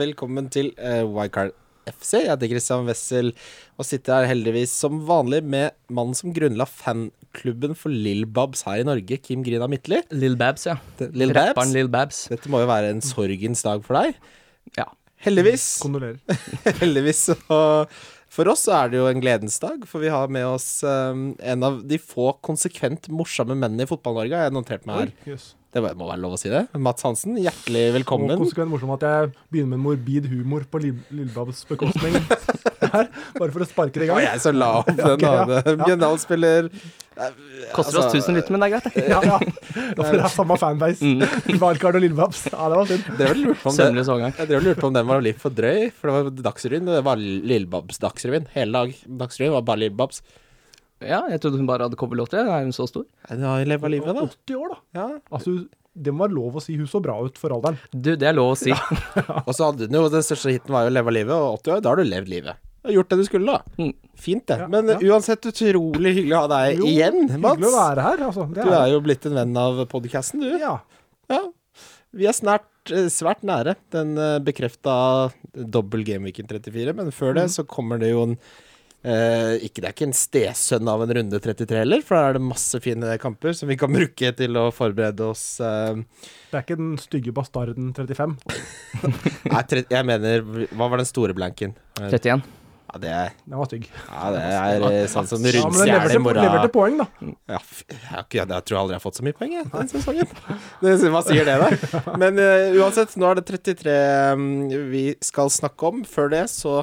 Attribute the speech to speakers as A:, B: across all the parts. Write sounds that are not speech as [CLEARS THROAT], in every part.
A: Velkommen til eh, Wildcard FC. Jeg heter Christian Wessel og sitter her heldigvis som vanlig med mannen som grunnla fanklubben for Lill Babs her i Norge, Kim Grina Midtly.
B: Lill Babs, ja.
A: Lill
B: Rapperen
A: Babs.
B: Lill Babs.
A: Dette må jo være en sorgens dag for deg.
B: Ja.
A: Heldigvis.
C: Kondolerer.
A: [LAUGHS] Heldigvis. Og for oss så er det jo en gledens dag, for vi har med oss eh, en av de få konsekvent morsomme mennene i Fotball-Norge, har jeg notert meg her.
C: Yes.
A: Det må være lov å si det. Mats Hansen, hjertelig
C: Og
A: velkommen.
C: konsekvent morsom at jeg begynner med morbid humor på Lill- Lillebabs
A: [LAUGHS]
C: bekostning. Her, bare for å sparke det
A: Det
C: i
A: var
C: gang.
A: jeg som la opp den.
C: [LAUGHS] ja,
A: da. Mjøndalen-spiller
B: Koster
A: Altså,
B: oss 1000 lytter, men det er greit, det.
C: Ja,
B: [LAUGHS]
C: ja. Da får dere ha samme fanbase.
A: Mm.
C: [LAUGHS] Wildcard og Lillebabs. Ja, det var synd.
A: Det var lurt på om det.
B: Sømløs overgang.
A: Jeg drev og lurte på om den var litt for drøy, for det var Dagsrevyen. Det var Lillebabs Dagsrevyen hele dag. Dagsrevyen var bare Lillebabs.
B: Ja, jeg trodde hun bare hadde coverlåter. Er hun så stor?
A: Nei, det har leva livet, da.
C: 80 år, da.
A: Ja.
C: Altså, det må være lov å si hun så bra ut for alderen.
B: Du, det er lov å si. [LAUGHS]
A: Og så hadde den jo Den største hiten var jo 'Leva livet', og 80 år, da har du levd livet. Du har gjort det du skulle, da.
B: Mm.
A: Fint, det.
C: Ja,
A: Men
C: ja.
A: uansett, utrolig hyggelig å ha deg
C: Jo,
A: Eh, igjen,
C: Hyggelig å
A: Mats.
C: være her. Altså. Det
A: Du er jo blitt en venn av podkasten, du.
C: ja.
A: Ja. Vi er snart, eh, svært nære den bekrefta dobbel Gameweeken 34, men før det så kommer det jo en eh, ikke, Det er ikke en stesønn av en runde 33 heller, for da er det masse fine kamper som vi kan bruke til å forberede oss eh,
C: Det er ikke den stygge bastarden 35.
A: Nei, tre, jeg mener Hva var den store blanken? Eh,
B: 31.
A: Ja, det er,
C: Den
A: [LAUGHS]
C: var stygg.
A: ja, det er eh, sånn som
C: Ja, men den
A: rundstjerne i
C: leverte,
A: morgen.
C: leverte poeng, da.
A: Ja, f- jeg, har ikke- jeg tror aldri jeg har fått så mye poeng jeg, den sesongen. Det, hva sier det, da? Men eh, uansett, nå er det 33 mm, vi skal snakke om. Før det så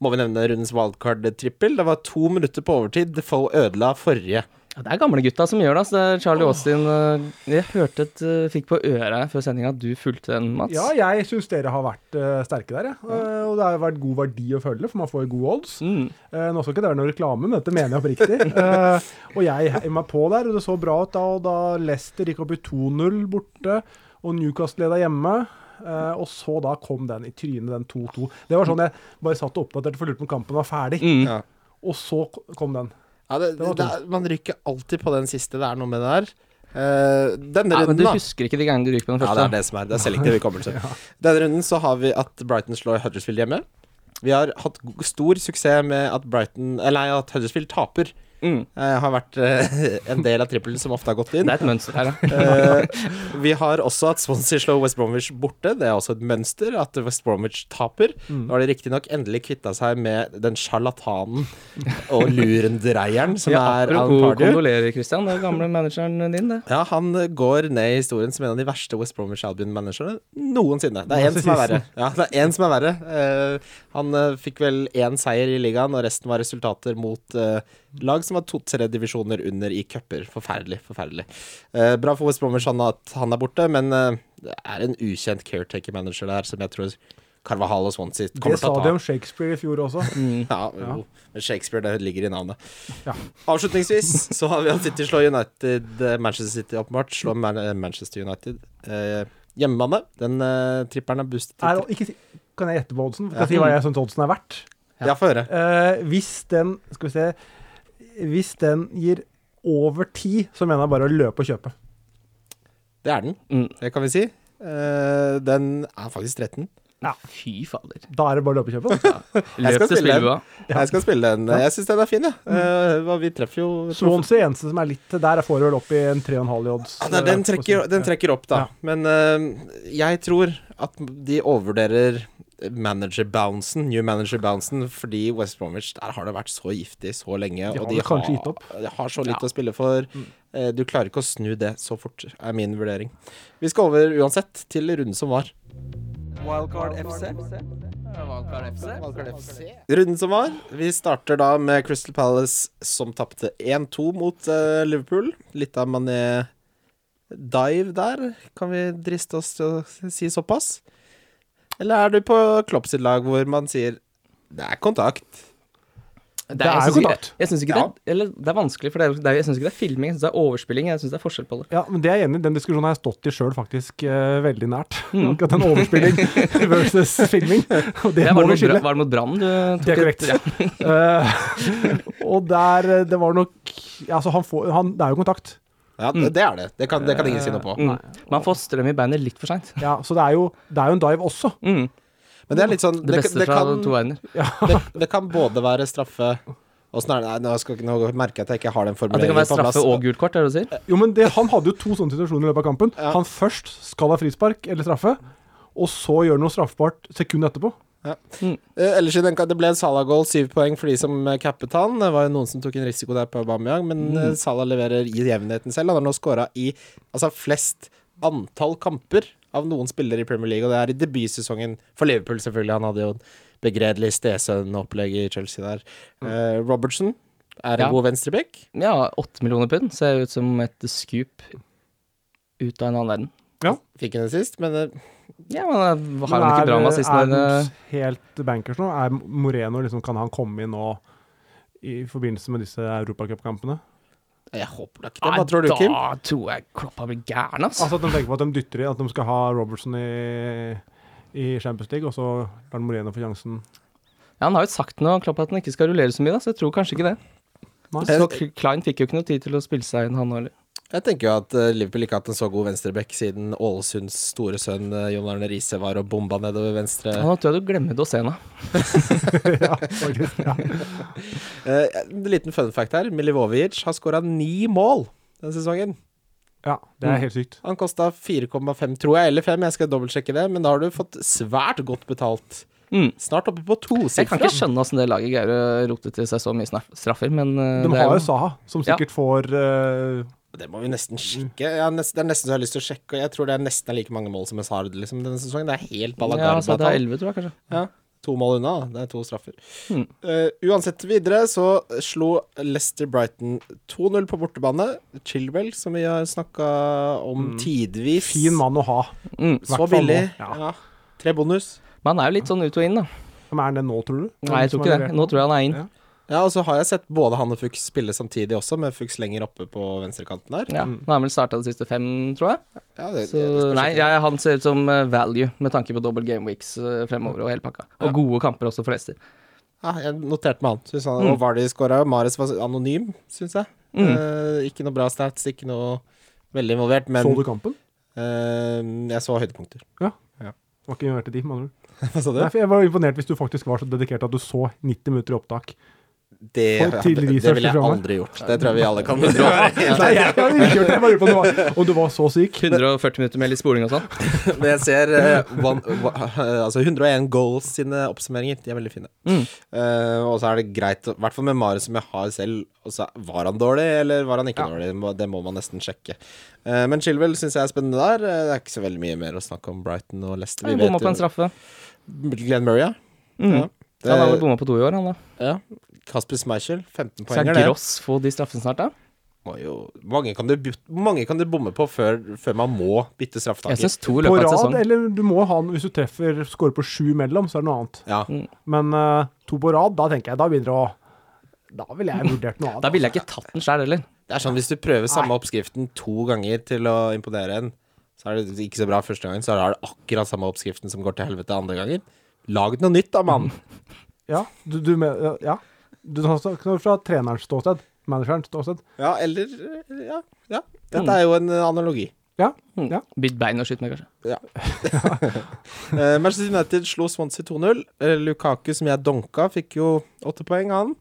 A: må vi nevne rundens wildcard-trippel. Det var to minutter på overtid. Defoe ødela forrige.
B: Ja, det er gamle gutta som gjør det. ass. Det er Charlie Austin. eh, Jeg hørte et eh, Fikk på øra her før sendinga at du fulgte den, Mats.
C: Ja, jeg syns dere har vært eh, sterke der, jeg. Eh, og det har vært god verdi å følge, for man får jo gode odds.
B: Mm.
C: Eh, nå skal ikke det være noe reklame, men dette mener jeg
A: [LAUGHS]
C: oppriktig. Eh, og jeg heiv meg på der, og det så bra ut da. Og da Leicester gikk opp i 2-0 borte, og Newcastle leda hjemme. eh, og så da kom den i trynet, den 2-2. Det var sånn jeg bare satt og oppdaterte for lurte på om kampen var ferdig.
B: Mm.
A: Ja.
C: Og så kom den.
A: det,
C: var
A: det er, man rykker alltid på den siste. Det er noe med det der. Eh, denne
B: Ja, men
A: runden,
B: du
A: da.
B: husker ikke de gangene du ryker på den
A: Ja, det er
B: første?
A: det som er. Det er selektiv hukommelse.
B: [LAUGHS]
A: Denne runden så har vi at Brighton slår Huddersfield hjemme. Vi har hatt g- stor suksess med at Brighton Eller nei, at Huddersfield taper.
B: Mm.
A: Eh, har vært eh, [LAUGHS] en del av trippelen som ofte har gått inn.
B: Det er et mønster her,
A: [LAUGHS]
B: ja.
A: Eh, vi har også at Swansea slår West Bromwich borte. Det er også et mønster at West Bromwich taper.
B: Mm.
A: Nå har de riktignok endelig kvitta seg med den sjarlatanen og lurendreieren som
B: ja
A: er Alan
B: apropos
A: Pardew.
B: kondolerer, Christian. Det er gamle manageren din, det.
A: Ja, han går ned i historien som en av de verste West Bromwich Albion-managerne noensinne. Det er én som er verre. Ja, det er en som er verre. Eh, han eh, fikk vel én seier i ligaen, og resten var resultater mot eh, lag som var to-tre divisjoner under i cuper. Forferdelig, forferdelig. Eh, bra for West Bromwich han at han er borte, men eh, det er en ukjent caretaker-manager der som jeg tror Carvahal og Swansea
C: Det
A: kommer
C: sa
A: til å
C: de
A: ta. Mm.
C: om Shakespeare i fjor også.
A: Ja, jo. Men Shakespeare, det ligger i navnet.
C: Ja.
A: Avslutningsvis så har vi at City slår United eh, Manchester City åpenbart slår Man eh, Manchester United eh, hjemmebane. Den eh, tripperen er boostet
C: Er,
A: til
C: ikke si, kan jeg gjette på oddsen? Skal jeg si hva jeg syns oddsen er verdt?
A: Ja, få høre.
C: Eh, hvis den Skal vi se Hvis den gir over ti, så mener jeg bare å løpe og kjøpe.
A: Det er den,
B: Mm.
A: det kan vi si. Eh, den er faktisk 13.
B: Fy fader.
C: Da er det bare å løpe og kjøpe. da.
A: skal
B: Løp til
A: spille den.
B: spillebua.
A: Jeg skal spille den. Jeg syns den er fin, jeg. Eh, hva vi treffer jo
C: Swansea eneste som er litt Der får du vel opp i en 3,5 i odds. eh,
A: Ja, nei, den, trekker, den trekker opp, da.
C: Ja.
A: Men eh, jeg tror at de overvurderer manager-bouncen, new manager-bouncen, fordi West Bromwich der har det vært så giftig så lenge.
C: De har
A: og de
C: vel kanskje gitt
A: har,
C: opp. Mm.
A: de har så litt
B: Ja.
A: å spille for. Eh, du klarer ikke å snu det så fort, er min vurdering. Vi skal over uansett til runden som var.
B: Wildcard FC. Wildcard FC.
A: Runden som var. Vi starter da med Crystal Palace, som tapte 1-2 mot eh, Liverpool. Litt av mané dive der. Kan vi driste oss til å si såpass? Eller er du på Klopp sitt lag, hvor man sier det er kontakt?
B: Det jeg
C: er jo
B: synes ikke-
C: kontakt.
B: Jeg synes ikke det, er- eller, det er vanskelig, for det er, jo- det er, jeg syns ikke det er filming, jeg syns det er overspilling. Jeg syns det er forskjell på det.
C: Ja, men det er jeg enig i. Den diskusjonen har jeg stått i sjøl faktisk eh, veldig nært. [LAUGHS] Akkurat den
B: [LAUGHS]
C: overspilling versus filming. Og
B: Mm. Det
C: det,
B: var,
C: må
B: det mot,
C: vi skille.
B: Bra- var det mot Brann du tok
C: Det er korrekt.
B: Ja.
C: [LAUGHS] Eh, og der eh, Det var nok ja, Altså, han får han, Det er jo kontakt.
A: Ja, det, det er det. Det kan, det kan ingen si noe på.
B: Mm. Man får strøm i bandet litt for seint.
C: Ja, så det er jo, det er jo en dive også.
B: Mm.
A: Men det er litt sånn
B: Det beste
A: det,
B: fra
A: kan,
B: to verdener.
A: det, det kan både være straffe og sånn er det, nei, nå, skal, ikke- nå merker jeg at jeg ikke har den
B: At det
A: formuleringen
B: kan være
A: på plass.
B: straffe og gult kort, er det du sier?
C: Jo, men det, Han hadde jo to sånne situasjoner i løpet av kampen.
A: Ja.
C: Han først skal ha frispark eller straffe, og så gjør noe straffbart sekundet etterpå.
A: Eh, Ellers i den, ka- Det ble et Salah-goal, syv poeng for de som eh, cappet han. Det var jo noen som tok en risiko der på Aubameyang, men
B: Mm.
A: eh, Salah leverer i jevnheten selv. Han har nå skåra i altså, flest antall kamper av noen spillere i Premier League, og det er i debutsesongen for Liverpool, selvfølgelig. Han hadde jo en begredelig stesønn-opplegg i Chelsea der. Eh, Robertson er en
B: Mm. Ja.
A: god venstreback.
B: Ja, åtte millioner pund ser ut som et scoop ut av en annen verden.
A: Fikk hun det sist, men eh,
B: Ja, men eh, har
C: Men
B: han ikke
C: er-
B: drama sist
C: er
B: når eh,
C: Woods helt bankers nå? Er Moreno liksom, Kan han komme inn nå i forbindelse med disse europacupkampene?
A: jeg håper da ikke det. Hva tror du, Kim?
B: Da tror jeg Kloppa blir gæren, ass.
C: Altså at de tenker på at de dytter i, at de skal ha Robertson i, i Champions League, og så lar Moreno få sjansen. [LAUGHS]
B: Ja, han har jo sagt nå Klopp at han ikke skal rullere så mye, da, så jeg tror kanskje ikke det.
C: Nei.
B: Så K- Klein fikk jo ikke noe tid til å spille seg inn, han heller.
A: Jeg tenker jo at eh, Liverpool ikke har hatt en så god venstreback siden Ålesunds store sønn eh, Jon Arne Riise var og bomba nedover venstre.
B: Han har dødd og glemmer Dosena.
C: ja, faktisk. Ja.
A: Eh, en liten fun fact her. Milivojevic har skåra ni mål denne sesongen.
C: ja, det
B: Mm.
C: er helt sykt.
A: Han kosta 4,5, tror jeg, eller 5. Jeg skal dobbeltsjekke det, men da har du fått svært godt betalt.
B: Mm.
A: Snart oppe på
B: Jeg kan ikke
A: tosifra.
B: skjønne åssen det laget greier å rote til seg så mye snaf- straffer, men eh,
C: De
B: det er
C: har jo
B: jo
C: Saha, som
B: Ja.
C: sikkert får eh,
A: Det må vi nesten sjekke. Jeg har nest, det er nesten så jeg har lyst til å sjekke, og jeg tror det er nesten like mange mål som Hazard liksom, denne sesongen. Det er helt
B: ja, så det er
A: Balagarba-tall.
B: 11, tror jeg kanskje.
A: Ja. To mål unna, da. det er to straffer.
B: Mm.
A: Eh, uansett videre så slo Leicester Brighton 2-0 på bortebane. Chilwell, som vi har snakka om tidvis.
C: fin mann å ha.
B: Mm.
C: hvert
A: Så
C: fall
A: billig.
C: nå. Ja.
A: Ja. Tre bonus.
B: Men han er jo litt sånn ut og inn, da.
C: Hvem er han det nå, tror du?
B: Nei, jeg tror ikke det. Nå tror jeg han er inn.
C: Ja.
A: Ja, og så har jeg sett både han og Fuchs spille samtidig også, med Fuchs lenger oppe på venstrekanten der.
B: Ja.
C: Mm.
B: Nå har han vel starta de siste fem, tror jeg.
A: Ja, det,
B: Så,
A: det skal sjekke.
B: nei, jeg, han ser ut som eh, value med tanke på double game weeks eh, fremover og hele pakka. Og gode kamper også, forresten.
A: Ja, jeg noterte meg han. Synes han Og Vardy skåra. Mares var anonym, syns jeg. Eh, ikke noe bra stats, ikke noe veldig involvert, men
C: Så du kampen?
A: eh, jeg så høydepunkter. [LAUGHS]
C: Var ikke involvert i de, med andre ord.
A: Hva sa
C: Nei, for Jeg var imponert hvis du faktisk var så dedikert at du så 90 minutter i opptak.
A: Det,
C: Folk
A: det,
C: tidlig
A: det
C: research
A: ville jeg
C: programmer.
A: aldri gjort. Det tror jeg vi alle [LAUGHS] kan være
C: Nei, jeg hadde ikke gjort det. Jeg bare lurer på om du var, om du var så syk.
B: 140 minutter med litt spoling og sånn.
A: Men jeg ser eh, one, wa- eh, altså 101 goals sine oppsummeringer. De er veldig fine.
B: Mm.
A: Eh, og så er det greit, i hvert fall med Marius som jeg har selv. Og så var han dårlig, eller var han ikke dårlig? Det må- Det må man nesten sjekke. Eh, men Chilwell syns jeg er spennende der. Eh, det er ikke så veldig mye mer å snakke om Brighton og Leicester. Vi
B: Bomma på en
A: vet
B: straffe.
A: jo Glenn Murray, ja.
B: Mm.
A: Ja. Det-
B: Han har vel bomma på to i år, han da.
A: ja. Kasper Schmeichel, 15
B: Skal
A: poenger, det.
B: Gross få de straffene snart, da?
A: Må jo, mange, kan du, byt- mange kan du bomme på før, før man må bytte
B: Jeg
A: straffetaker.
B: syns to i
C: På
B: løpet av en
C: rad,
B: sesong.
C: eller du må ha den hvis du treffer scorer på sju mellom, så er det noe annet.
A: Ja.
C: Men eh, to på rad, da tenker jeg, da begynner det å Da ville jeg vurdert noe annet.
B: Da ville jeg ikke tatt den sjæl heller.
A: Det er sånn hvis du prøver samme oppskriften to ganger til å imponere en, så er det ikke så bra første gangen, så er det akkurat samme oppskriften som går til helvete andre gangen. Lag noe nytt da, mann!
C: Ja, du, du, med- ja. du du snakker fra trenerens ståsted. Managerens ståsted.
A: [LAUGHS] Ja, eller eh, ja, ja. Dette er jo en eh, analogi.
C: Ja.
B: Mm.
C: Ja.
B: Bytt bein og skyt med, kanskje.
A: Eh, Manchester United slo Swansea 2-0. Eh, Lukaku, som jeg donka, fikk jo åtte poeng, han.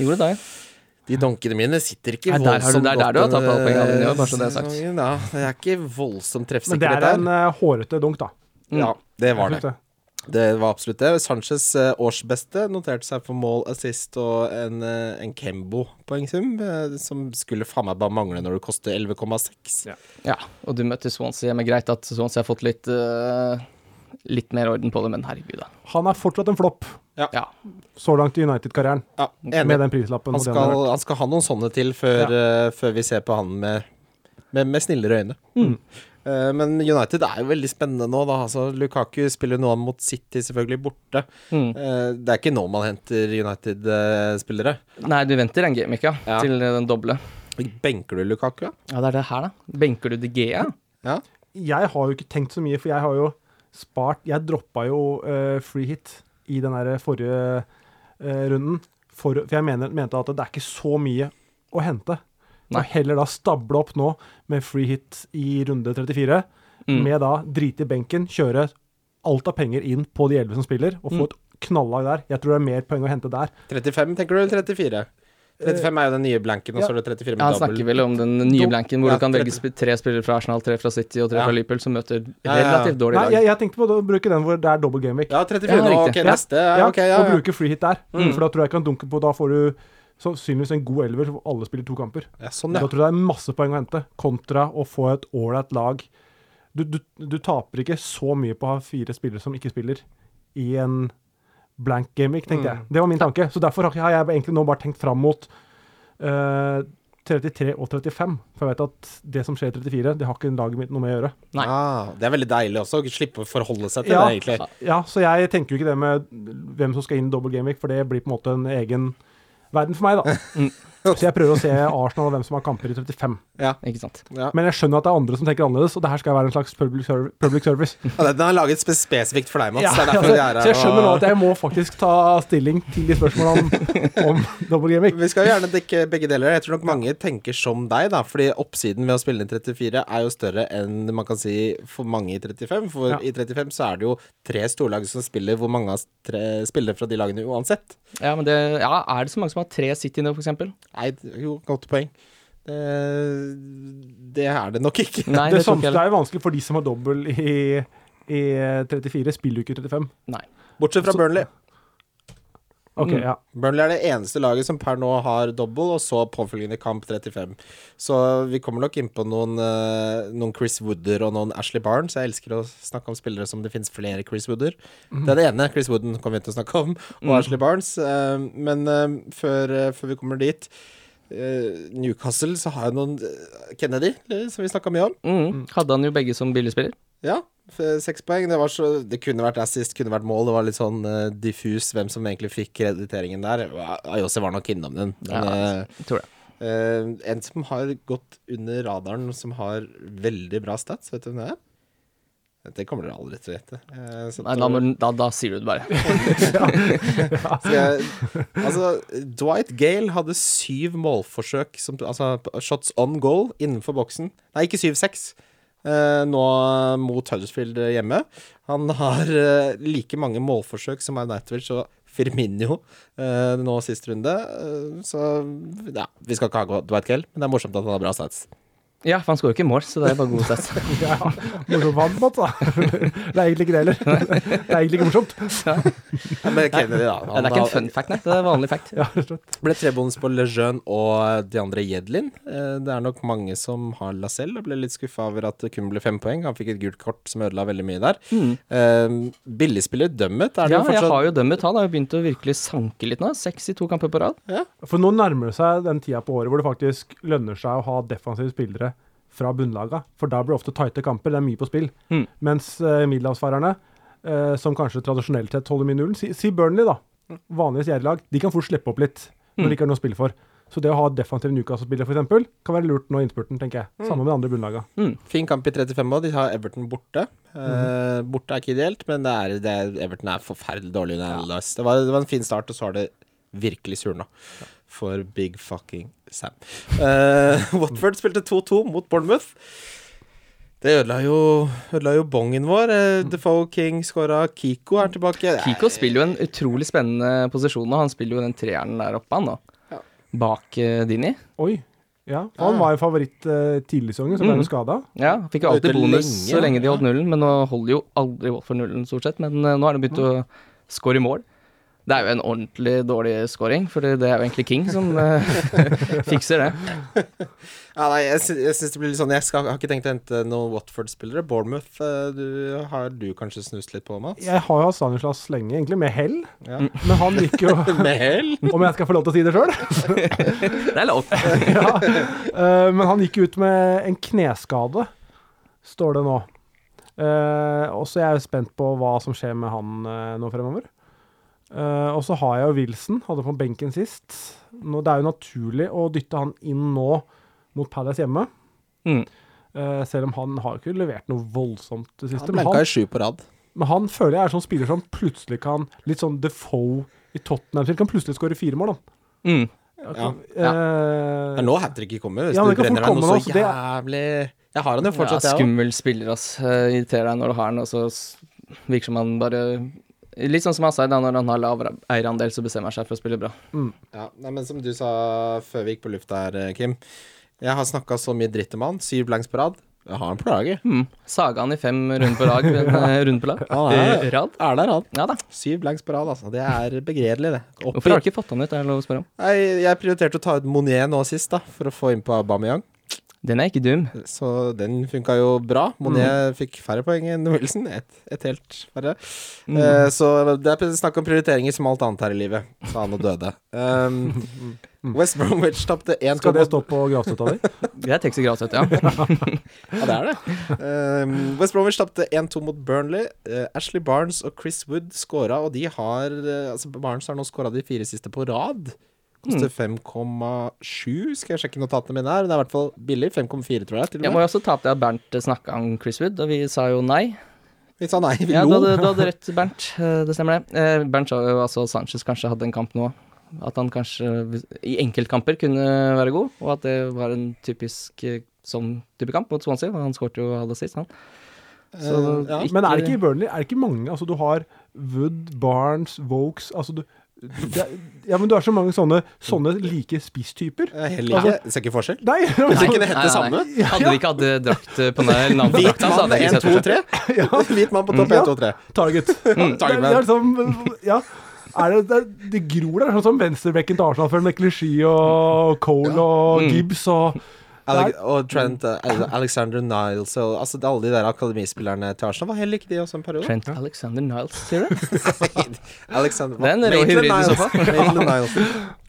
B: Gjorde det da, ja.
A: De donkene mine sitter ikke
B: Nei, der har du-
A: voldsomt
B: det er der du har tatt alle pengene dine,
A: eh,
B: bare så det er sagt.
A: sesongen, Ja, det er ikke voldsomt
C: Men det
A: treffsikkert,
C: er en
A: dette her.
C: eh, hårete dunk, da.
A: Ja, det var det.
C: Synes jeg.
A: Det var absolutt det. Sanchez eh, årsbeste noterte seg for mål, assist og en, eh, en Kembo-poengsum, eh, som skulle faen meg bare mangle når det koster 11,6.
C: Ja.
B: Ja, og du møter Swansea. Men greit at Swansea har fått litt eh, Litt mer orden på det, men herregud, da.
C: Han er fortsatt en flopp
B: Ja.
C: så langt i United-karrieren,
A: Ja,
C: med
A: enig.
C: den
A: Han
C: prislappen. og det
A: skal,
C: han har vært.
A: han skal ha noen sånne til før, eh, før vi ser på han med, med, med snillere øyne. Eh, men United er jo veldig spennende nå, da. Altså, Lukaku spiller nå mot City, selvfølgelig, borte.
B: Mm.
A: Eh, det er ikke nå man henter eh, United-spillere.
B: Nei, du venter en game, ikke? Ja.
A: Ja.
B: Til eh, den doble.
A: Benker du Lukaku, ja?
B: Ja, det er det her, da. Benker du De Gea?
A: ja?
C: Jeg har jo ikke tenkt så mye, for jeg har jo spart Jeg droppa jo eh, free hit i den der forrige eh, runden, for, for jeg mener, mente at det er ikke så mye å hente.
B: Nei.
C: Så heller da stable opp nå med free hit i runde 34,
B: Mm.
C: med da drite i benken, kjøre alt av penger inn på de elleve som spiller, og
B: Mm.
C: få et knallag der. Jeg tror det er mer poeng å hente der.
A: 35, tenker du, eller 34?
C: Eh,
A: 35 er jo den nye blanken, og så er det 34 med
B: Ja, han
A: dobbelt.
B: snakker vel om den nye blanken hvor
A: Ja,
B: du kan
A: tre-
B: velge sp- tre spillere fra Arsenal, tre fra City og tre
A: Ja.
B: fra Liverpool, som møter
A: ja, ja.
B: relativt dårlige
C: Nei,
B: lag.
C: jeg, jeg tenkte på å bruke den hvor det er double game week.
A: Ja, 34.
B: Ja,
A: ok,
B: riktig.
A: neste. Ja, ok, ja, Mm.
C: Og
A: ja.
C: bruke free hit der, for da tror jeg jeg kan dunke på Da får du sannsynligvis en god elver hvor alle spiller to kamper.
A: ja sånn, ja.
C: Da tror jeg det er masse poeng å hente, kontra å få et ålreit lag. Du, du, du taper ikke så mye på å ha fire spillere som ikke spiller, i en blank gameweek, tenkte
A: Mm.
C: jeg. Det var min tanke. Så derfor har ikke- har jeg egentlig nå bare tenkt fram mot eh, 33 og 35. For jeg vet at det som skjer i 34, det har ikke laget mitt noe med å gjøre.
B: Nei.
A: Ah, det er veldig deilig også, å slippe å forholde seg til
C: Ja.
A: det, egentlig.
C: Ja, så jeg tenker jo ikke det med hvem som skal inn i double gameweek, for det blir på en måte en egen verden for meg, da. [LAUGHS] Så jeg prøver å se Arsenal og hvem som har kamper i 35.
B: Ikke sant.
A: Ja.
C: Men jeg skjønner at det er andre som tenker annerledes, og det her skal være en slags public, serv public service.
A: Ja, den er laget spe- spesifikt for deg, Mats.
C: Ja,
A: det er derfor
C: altså,
A: vi er
C: så jeg skjønner nå
A: og-
C: at jeg må faktisk ta stilling til de spørsmålene om, om double gaming.
A: Vi skal jo gjerne dekke begge deler. Jeg tror nok mange tenker som deg, da. Fordi oppsiden ved å spille inn 34 er jo større enn man kan si for mange i 35. For
C: Ja.
A: i 35 så er det jo tre storlag som spiller, hvor mange av tre spillere fra de lagene uansett.
B: Ja, men det, ja, er det så mange som har tre City nå, for eksempel?
A: Nei, det er jo, godt poeng. Det, det er det nok ikke.
B: Nei,
C: Det
B: det, tror jeg
C: samme
B: ikke heller.
C: er jo vanskelig for de som har dobbel i, i 34, spiller jo ikke i 35.
B: Nei.
A: [LAUGHS] Bortsett fra Burnley.
C: Ok,
B: Mm.
C: ja. [LAUGHS]
A: Burnley er det eneste laget som per nå har dobbel, og så påfølgende kamp 35. Så vi kommer nok innpå noen, eh, noen Chris Wooder og noen Ashley Barnes. Jeg elsker å snakke om spillere som det finnes flere Chris Wooder. Det er det ene. Chris Wooden kommer vi til å snakke om, og Ashley Barnes. Eh, men eh, før, eh, før vi kommer dit eh, Newcastle, så har jeg noen eh, Kennedy, eh, som vi snakka mye om.
B: Mm. Hadde han jo begge som billigspiller?
A: Ja, f- seks poeng. Det, var så, det kunne vært assist, kunne vært mål. Det var litt sånn eh, diffus hvem som egentlig fikk krediteringen der. Ayose var nok innom den. Men,
B: Ja.
A: eh,
B: Tror jeg.
A: eh, en som har gått under radaren, som har veldig bra stats, vet du hvem det er? Det kommer dere aldri til å gjette. Eh, så
B: Nei, da, må, da, da sier du det bare.
A: skal jeg, altså, Dwight Gale hadde syv målforsøk, som, altså shots on goal, innenfor boksen. Nei, ikke syv, seks. Eh, nå mot Huddersfield hjemme. Han har eh, like mange målforsøk som Arnautovic og Firmino eh, nå sist runde. Eh, så ja, vi skal ikke ha Dwight Gale, men det er morsomt at han har bra stats.
B: Ja, for han skårer ikke mål, så det er bare god sats.
C: [LAUGHS] ja. Morsomt vann, Mats, da. [LAUGHS] Det er egentlig ikke det heller. Det er egentlig ikke morsomt.
A: Ja, men Kennedy, da. Han
B: Det er ikke en
A: har-
B: fun fact, nei. Det er vanlig
A: [LAUGHS]
B: fact.
C: Ja, rett og slett.
A: ble trebonus på Lejeune og de andre Jedlin. Eh, Det er nok mange som har Lacelle og ble litt skuffa over at det kun ble fem poeng. Han fikk et gult kort som ødela veldig mye der. Eh, Billigspiller Dummet er det
B: Mm.
A: jo
B: Ja, jeg
A: fortsatt.
B: har jo dømmet. Han har jo begynt å virkelig sanke litt nå. Seks i to kamper på rad.
C: For nå nærmer det seg den tida på året hvor det faktisk lønner seg å ha defensive spillere fra bunnlaga. For da blir det ofte tighte kamper, det er mye på spill.
B: Mm.
C: Mens uh, middelhavsfarerne, eh, som kanskje tradisjonelt sett holder mye nullen, si, si Burnley, da. Vanligvis gjerdelag. De kan fort slippe opp litt når de ikke har noe å spille for. Så det å ha defensive Newcastle-spillere f.eks. kan være lurt nå i innspurten, tenker jeg. Sammen med de andre bunnlaga.
A: Fin kamp i 35 òg. De har Everton borte. Eh, Borte er ikke ideelt, men det er, det er, Everton er forferdelig dårlig under Allardyce. Det, var- det var en fin start, og så har det virkelig surna. For big fucking Sam. Eh, [LAUGHS] Watford spilte 2-2 mot Bournemouth. Det ødela jo, ødela jo bongen vår. Eh, Defoe King skåra. Kiko er tilbake.
B: Kiko spiller jo en utrolig spennende posisjon nå. Han spiller jo den treeren der oppe, han
A: Ja.
B: nå. Bak eh, Dini.
C: Oi. Ja, Han var jo favoritt eh, tidlig i sesongen, så ble han jo skada.
B: Ja, han fikk jo alltid
A: Ute
B: bonus
A: lenge,
B: så lenge de
A: ja.
B: holdt nullen, men nå holder jo aldri Wolff for nullen, stort sett. Men eh, nå har de begynt å score i mål. Det er jo en ordentlig dårlig scoring, for det er jo egentlig King som eh, [LAUGHS] fikser det.
A: Ja, nei, jeg, sy jeg synes det blir litt sånn Jeg, skal, har ikke tenkt å hente noen Watford-spillere. Bournemouth eh, du, har du kanskje snust litt på, Mats?
C: Jeg har jo hatt Stanislas lenge, egentlig, med hell.
A: Ja.
C: Men han gikk jo [LAUGHS]
A: Med hell?
C: Om jeg skal få lov til å si det sjøl?
B: Det er lov.
C: [LAUGHS] ja. Eh, men han gikk jo ut med en kneskade, står det nå. Eh, og så er jeg spent på hva som skjer med han eh, nå fremover. Eh, og så har jeg jo Wilson, hadde på benken sist. Nå, det er jo naturlig å dytte han inn nå mot Palace hjemme.
B: Mm.
C: Eh, selv om han har ikke levert noe voldsomt det siste.
A: Han
C: men
A: blanka i sju på rad.
C: men han føler jeg er sånn spiller som plutselig kan Litt sånn Defoe i Tottenham. Kan plutselig skåre fire mål, da.
B: Mm.
A: Ja.
C: Eh,
A: Det er nå hat tricket kommer. Hvis
C: Ja, men
A: du
C: det kan fort
A: brenner deg noe
C: komme nå,
A: så
C: så det
A: jævlig Jeg har han jo
B: Ja,
A: fortsatt, jeg òg.
B: skummel spiller, ass. Eh, Irriterer deg når du har den, og så s- virker som han bare Litt sånn som Asai, da, når han har lav eierandel, så bestemmer han seg for å spille bra.
A: Ja, nei, men som du sa før vi gikk på lufta her, eh, Kim. Jeg har snakka så mye dritt om han. Syv blanks på rad. Jeg har en plage.
B: Hmm. Saga han i fem runder på lag? men, eh, Rund på lag?
A: Han er,
B: Eh, Rad?
A: er der, han.
B: Ja da.
A: Syv blanks på rad, altså. Det er begredelig, det. Opp
B: Hvorfor har
A: i-
B: du ikke fått han ut? Er det lov å spørre om?
A: Nei, jeg prioriterte å ta ut Monier nå sist, da, for å få innpå Aubameyang.
B: Den er ikke dum.
A: Så den funka jo bra.
B: Mm.
A: Monier fikk færre poeng enn Wilson. Ett et helt færre.
B: Mm.
A: Eh, så det er snakk om prioriteringer som alt annet her i livet, sa han og døde.
B: [LAUGHS]
A: Um,
B: Mm.
A: West Bromwich tapte 1,8
C: Skal det stå på gravstøtta di?
B: Det er Texas
A: [LAUGHS]
B: Gratis, ja.
A: Ja, det er det. Ehm, West Bromwich tapte 1-2 mot Burnley. Eh, Ashley Barnes og Chris Wood scora, og de har eh, Altså, Barnes har nå scora de fire siste på rad. Koster
B: Mm.
A: 5,7, skal jeg sjekke notatene mine her. Det er i hvert fall billig. 5,4, tror jeg. til
B: Jeg
A: og
B: må
A: med.
B: jo også ta opp det at Bernt snakka om Chris Wood, og vi sa jo nei.
A: Vi sa nei, vi
B: Ja, du
A: lo.
B: hadde, du hadde rett, Bernt. Eh, Det stemmer, det. Eh, Bernt sa jo altså at Sanchez kanskje hadde en kamp nå. At han kanskje i enkeltkamper kunne være god, og at det var en typisk eh, sånn type kamp mot Swansea. og Han skåret jo halv assist, han. Så
A: Eh, ja.
B: ikke-
C: Men er det ikke i Burnley Er det ikke mange Altså, du har Wood, Barnes, Vokes Altså, du det, er- Ja, men du har så mange sånne, sånne like spisstyper. Altså,
A: Jeg er heller ikke Ser ikke forskjell.
C: Nei! [LAUGHS] men
A: Ser
C: så-
A: ikke det helt det
B: Nei, nei,
A: samme?
B: nei. Hadde de ikke hatt eh, drakt eh, på navnet på
C: [LAUGHS]
A: Hvit
B: drakta, så
A: mann
B: hadde
A: 1,
B: jeg ikke sett
A: 2,
B: det.
A: [LAUGHS] 3. Hvit mann på topp 1, 2, 3. [LAUGHS]
C: Target. Det er, det er liksom Ja. Er det, det, er, det gror der, sånn som venstrebekken til Arsenal før med Clichy og Cole
A: Mm.
C: og Gibbs og
A: Alec- Og Trent eh, Alexander Niles og altså, alle de der akademispillerne til Arsenal var heller ikke de også en [LAUGHS] periode.
B: Trent Alexander Niles, sier du?
A: Alexander
B: Det er en rå hybrid i så fall.
A: [LAUGHS] Maitland Niles.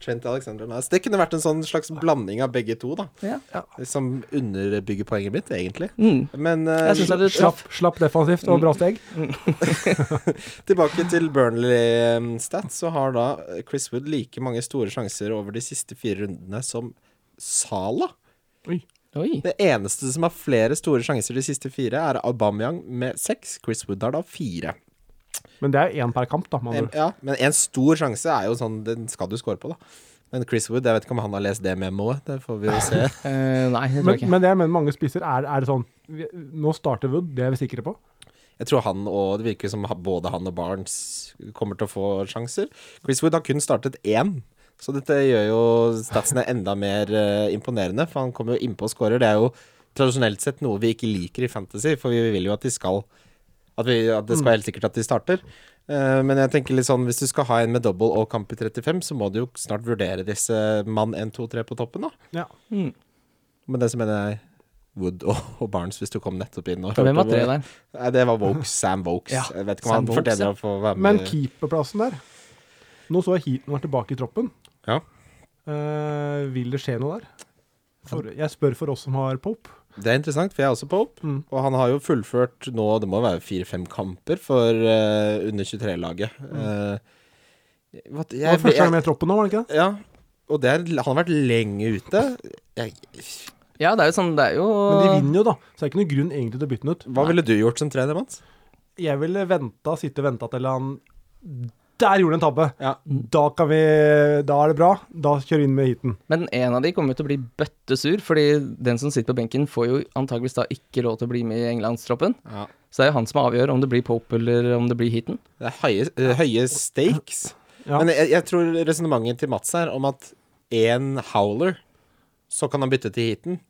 A: Trent Alexander Niles. Det kunne vært en sånn slags blanding av begge to, da.
B: Ja.
A: Som underbygger poenget mitt, egentlig.
B: Mm.
A: Men eh,
B: Jeg syns det er
C: slapp,
B: traff.
C: slapp defensivt og
A: Mm.
C: bra steg.
A: tilbake til Burnley-stats, så har da Chris Wood like mange store sjanser over de siste fire rundene som Sala.
B: Oi.
A: Det eneste som har flere store sjanser de siste fire, er Aubameyang med seks. Chris Wood har da fire.
C: Men det er én per kamp, da. Man.
A: En, ja, men en stor sjanse er jo sånn Den skal du score på, da. Men Chris Wood, jeg vet ikke om han har lest det memoet. Det får vi jo se.
B: Eh, nei, det tror
C: Men,
B: jeg ikke.
C: men det jeg mener mange spiser, er, er det sånn vi- Nå starter Wood, det er vi sikre på.
A: Jeg tror han og Det virker som ha- både han og Barnes kommer til å få sjanser. Chris Wood har kun startet én, så dette gjør jo statsene enda mer eh, imponerende. For han kommer jo innpå og skårer. Det er jo tradisjonelt sett noe vi ikke liker i Fantasy, for vi vil jo at de skal At, vi, at det skal helt sikkert at de starter. Eh, men jeg tenker litt sånn hvis du skal ha en med double og kamp i 35, så må du jo snart vurdere disse mann 1, 2, 3 på toppen, da.
C: Ja.
B: Mm.
A: Men det som mener jeg Wood og, og Barnes, hvis du kom nettopp inn og
B: Hvem var
A: hørte
B: tre
A: hvor-
B: der?
A: Nei, det var Vokes. Sam Vokes.
B: Ja,
A: jeg vet ikke om
B: Sam
A: han
B: Vokes,
A: fortjener
B: ja.
A: å få være
C: Men
A: med.
C: keeperplassen der Nå så jeg Heaton var tilbake i troppen.
A: Ja.
C: Eh, vil det skje noe der? For, jeg spør for oss som har Pope.
A: Det er interessant, for jeg er også på opp.
C: Mm.
A: Og han har jo fullført nå, det må være fire-fem kamper for eh, under 23-laget. Eh, hva-
C: Mm. Det var
A: jeg-
C: første
A: jeg-
C: gang med i troppen nå, var det ikke det?
A: Ja, og det er, han har vært lenge ute. Jeg,
B: Ja, det er jo sånn, det er jo
C: Men de vinner jo, da. Så det er ikke noen grunn egentlig til å bytte den ut.
A: hva ville du gjort som trener, Mats?
C: Jeg ville venta, sitte og venta til han Der gjorde han en tabbe!
A: Ja.
C: Da kan vi Da er det bra. Da kjører vi inn med Heaton.
B: Men en av de kommer jo til å bli bøttesur, fordi den som sitter på benken får jo antageligvis da ikke råd til å bli med i Englandstroppen.
A: ja.
B: Så det er jo han som avgjør om det blir Pope eller om det blir Heaton.
A: Det er høye, eh, høye stakes.
C: Ja.
A: Men jeg, jeg tror resonnementet til Mats her om at én howler, så kan han bytte til heaten,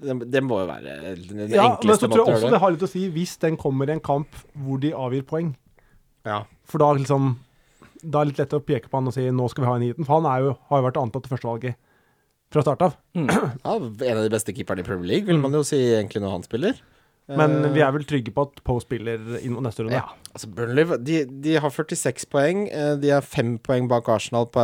A: det, det må jo være den den
C: Ja, men
A: enkleste
C: så tror
A: måten
C: jeg
A: å gjøre
C: også det
A: det
C: har litt å si hvis den kommer i en kamp hvor de avgir poeng.
A: Ja.
C: For da liksom Da er det litt lett å peke på han og si nå skal vi ha en heaten. For han er jo, har jo vært antatt til førstevalget fra start av.
A: Ja, en av de beste keeperne i Premier League, vil man jo si egentlig når han spiller.
C: Men vi er vel trygge på at Poe spiller inn neste runde.
B: Eh. Ja.
A: Altså Burnley de, de har 46 poeng. eh, De er fem poeng bak Arsenal på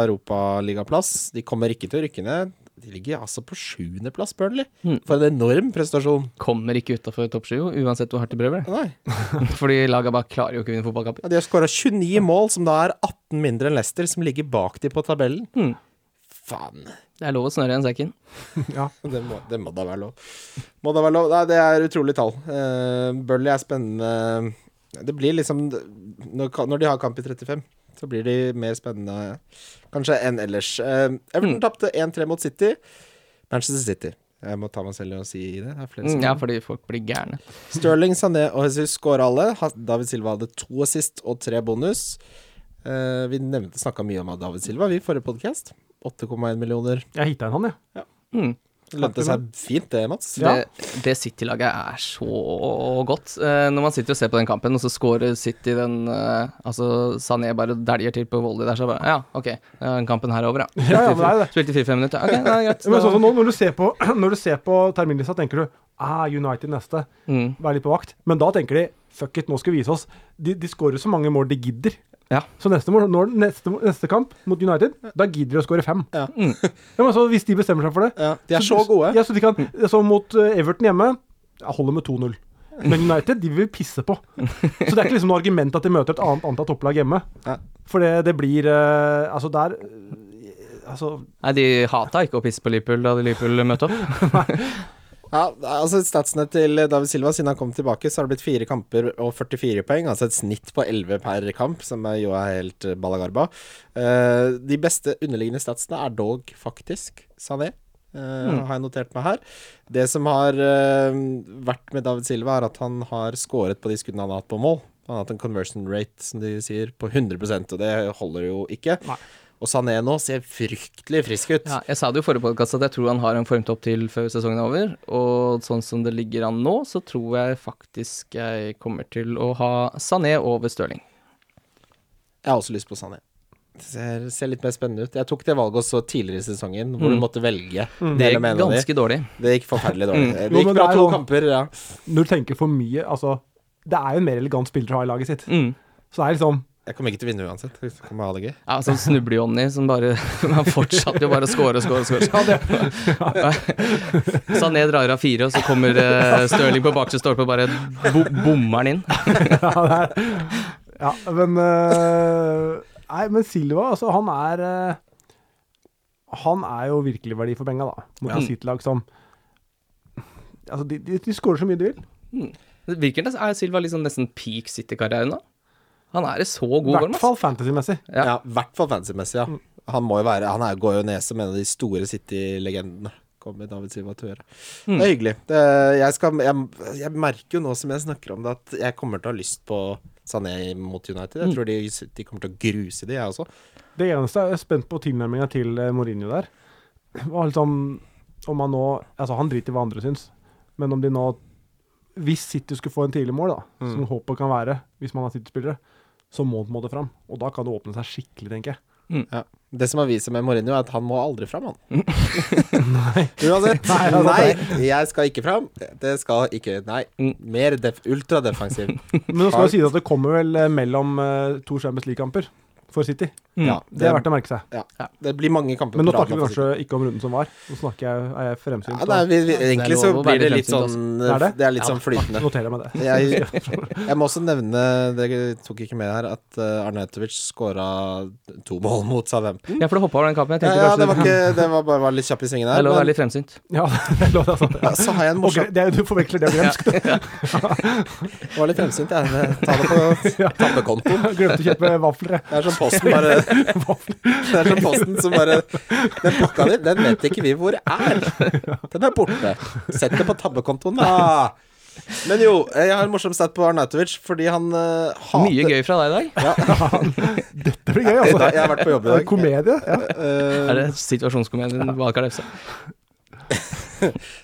A: europaligaplass. De kommer ikke til å rykke ned. De ligger altså på sjuendeplass, Burnley.
C: Hmm.
B: Mm.
A: For en enorm prestasjon.
B: Kommer ikke utafor topp 7, uansett hvor hardt de prøver. [LAUGHS]
A: Nei.
B: Fordi laga bak klarer jo ikke å vinne fotballkamper.
A: Ja, de har skåra 29 mål, som da er 18 mindre enn Leicester, som ligger bak de på tabellen.
B: Mm.
A: Faen.
B: Det er lov å snøre igjen sekken.
C: Ja.
A: Det må, det må da være lov. Må da være lov. Nei, det er utrolig tall. Uh, Burnley er spennende. Det blir liksom når, ka- når de har kamp i 35, så blir de mer
B: Mm.
A: spennende kanskje enn ellers. Eh, Everton tapte 1-3 mot City. Manchester City. Jeg må ta meg selv i å si det. det er flere
B: Mm,
A: som-
B: Ja, fordi folk blir gærne.
A: Sterling, Sané og Jesus skåra alle. Ha- David Silva hadde to assist og tre bonus. Eh, vi nevnte snakka mye om David Silva vi i forrige podkast. 8,1 millioner.
C: Jeg hita en han, jeg.
B: Mm.
A: Lønte seg fint, det, Mats.
C: Ja.
B: Det, det City-laget er så godt. Eh, når man sitter og ser på den kampen, og så scorer City den eh, Altså, Sané bare dæljer til på volley der, så bare Ja, ok, ja, den kampen her er over, ja.
C: Ja, ja, men det er det.
B: Spilte i 4-5 minutter. Ok, det er
C: [LAUGHS]
B: greit.
C: Men sånn som
B: da-
C: nå, når du ser på, [CLEARS THROAT] når du ser på terminlista, tenker du ah, United neste,
B: Mm,
C: vær litt på vakt. Men da tenker de fuck it, nå skal vi vise oss. De, de skårer så mange mål de gidder.
B: Ja.
C: Så neste, mål, når, neste, neste kamp mot United, da gidder de å skåre fem.
A: Ja.
B: Mm.
C: Ja, men så hvis de bestemmer seg for det
A: Ja, de er så gode.
C: Ja, så, de kan, så mot eh, Everton hjemme jeg holder med 2-0. Men United de vil pisse på. Så det er ikke liksom noe argument at de møter et annet antall topplag hjemme.
A: Nei.
C: For det, det blir eh, Altså, der eh, Altså
B: Nei, de hata ikke å pisse på Liverpool da de Liverpool møtte opp.
C: [LAUGHS]
A: Ja, altså Statsene til David Silva siden han kom tilbake, så har det blitt fire kamper og 44 poeng. Altså et snitt på 11 per kamp, som er jo er helt eh, balagarba. Eh, de beste underliggende statsene er dog faktisk Sané, eh, har jeg notert meg her. Det som har eh, vært med David Silva, er at han har skåret på de skuddene han har hatt på mål. Han har hatt en conversion rate, som de sier, på 100 og det holder jo ikke.
C: Nei.
A: Og Sané nå ser fryktelig frisk ut.
B: Ja, jeg sa det jo i forrige podkast at jeg tror han har en formtopp til før sesongen er over. Og sånn som det ligger an nå, så tror jeg faktisk jeg kommer til å ha Sané over Stirling.
A: Jeg har også lyst på Sané. Det ser, ser litt mer spennende ut. Jeg tok det valget også tidligere i sesongen, hvor du måtte velge. Det,
B: Mm. Det
A: gikk
B: er ganske dårlig.
A: det gikk forferdelig dårlig.
B: Mm.
A: Det
C: Jo,
A: gikk
C: men
A: bra
C: det er
A: to
C: jo-
A: kamper, ja.
C: Når du tenker for mye Altså, det er jo en mer elegant spiller å ha i laget sitt.
B: Mm.
C: Så det er liksom [LAUGHS]
A: Jeg kommer ikke til å vinne uansett. Jeg kommer ha det gøy.
B: Ja, sånn snuble-Johnny som bare [LAUGHS] Han fortsatte jo bare å score og score og score. [LAUGHS] Sané drar av fire, og så kommer uh, Stirling på bakre stolpe og bare bo bommer den inn.
C: Ja, det er, ja men eh, Nei, men Silva, altså, han er eh, Han er jo virkelig verdi for penga, da. Mot
B: Ja.
C: et City-lag som Altså, de, de, de skårer så mye de vil.
B: Det Virker det er Silva liksom nesten peak City-karrieren nå? Han er i så
C: I
B: god form,
C: hvert
B: ass.
C: fall fantasy-messig.
A: Ja,
B: Ja. Mm.
A: I hvert fall fancy-messig, ja. Han må jo være Han er, går jo ned som en av de store City-legendene. Kommer David Silva til å gjøre.
B: Mm.
A: Det er hyggelig. Det, jeg, skal, jeg, jeg merker jo nå som jeg snakker om det, at jeg kommer til å ha lyst på Sané mot United.
B: Mm.
A: Jeg tror de, de kommer til å gruse de, jeg også.
C: Det eneste jeg er spent på tilnærminga til eh, Mourinho der. Og liksom, om han nå Altså, han driter i hva andre syns, men om de nå Hvis City skulle få en tidlig mål, da, som håpet kan være, hvis man har City-spillere, så må den måtte fram. Og da kan det åpne seg skikkelig, tenker jeg.
A: Ja. Det som har vist seg med Mourinho, er at han må aldri fram, han.
B: [LAUGHS]
A: [LAUGHS] Uansett. Nei, jeg skal ikke fram. Det skal ikke Nei.
B: Mm.
A: Mer def ultradefensiv.
B: [LAUGHS]
C: Men nå skal det sies at det kommer vel eh, mellom eh, to Champions League-kamper for City.
B: Mm.
A: Ja,
C: Det er verdt å merke seg.
A: ja. det blir mange kamper
C: Men nå
A: på raden
C: snakker vi
A: for City.
C: kanskje ikke om runden som var. Nå snakker jeg, er jeg fremsynt.
A: ja, nei, vi, vi, Egentlig så
B: lov å være
A: blir det
B: litt
A: litt sånn
C: Det er det?
A: Det er litt sånn
C: og
A: flytende.
C: noterer jeg meg [LAUGHS] det.
A: Jeg, jeg må også nevne, det tok ikke med her, at eh, Arnautovic skåra to mål mot Southampton.
B: Ja, for du hoppa over den kampen. Jeg
A: Ja,
B: tenkte
A: ja, det
B: kanskje
A: var ikke Det var bare var litt kjapp i svingen
B: Det
A: her.
B: er lov å være
A: Men,
B: litt fremsynt.
C: Ja, det [LAUGHS] er lov, det er sant.
A: ja, så har jeg en
C: [LAUGHS] Og
A: morsom
C: gre- det er, du forveksler det og glemsk.
A: Det var litt fremsynt, jeg. Ta det
C: [LAUGHS]
A: på tappekontoen.
C: Glemte å kjøpe vafler. jeg.
A: Det er som posten bare
B: [LAUGHS]
A: Det er som posten som bare Den pakka di, den vet ikke vi hvor er. Den er borte. Sett det på tabbekontoen, da. Men jo, jeg har en morsom stat på Arnautovic, fordi han eh, hater
B: Mye gøy fra deg i dag.
C: Det blir gøy,
A: I
C: altså.
A: dag- Jeg har vært på jobb i dag.
C: Komedie. Ja.
A: Eh,
B: Er det situasjonskomedien bak Alefse?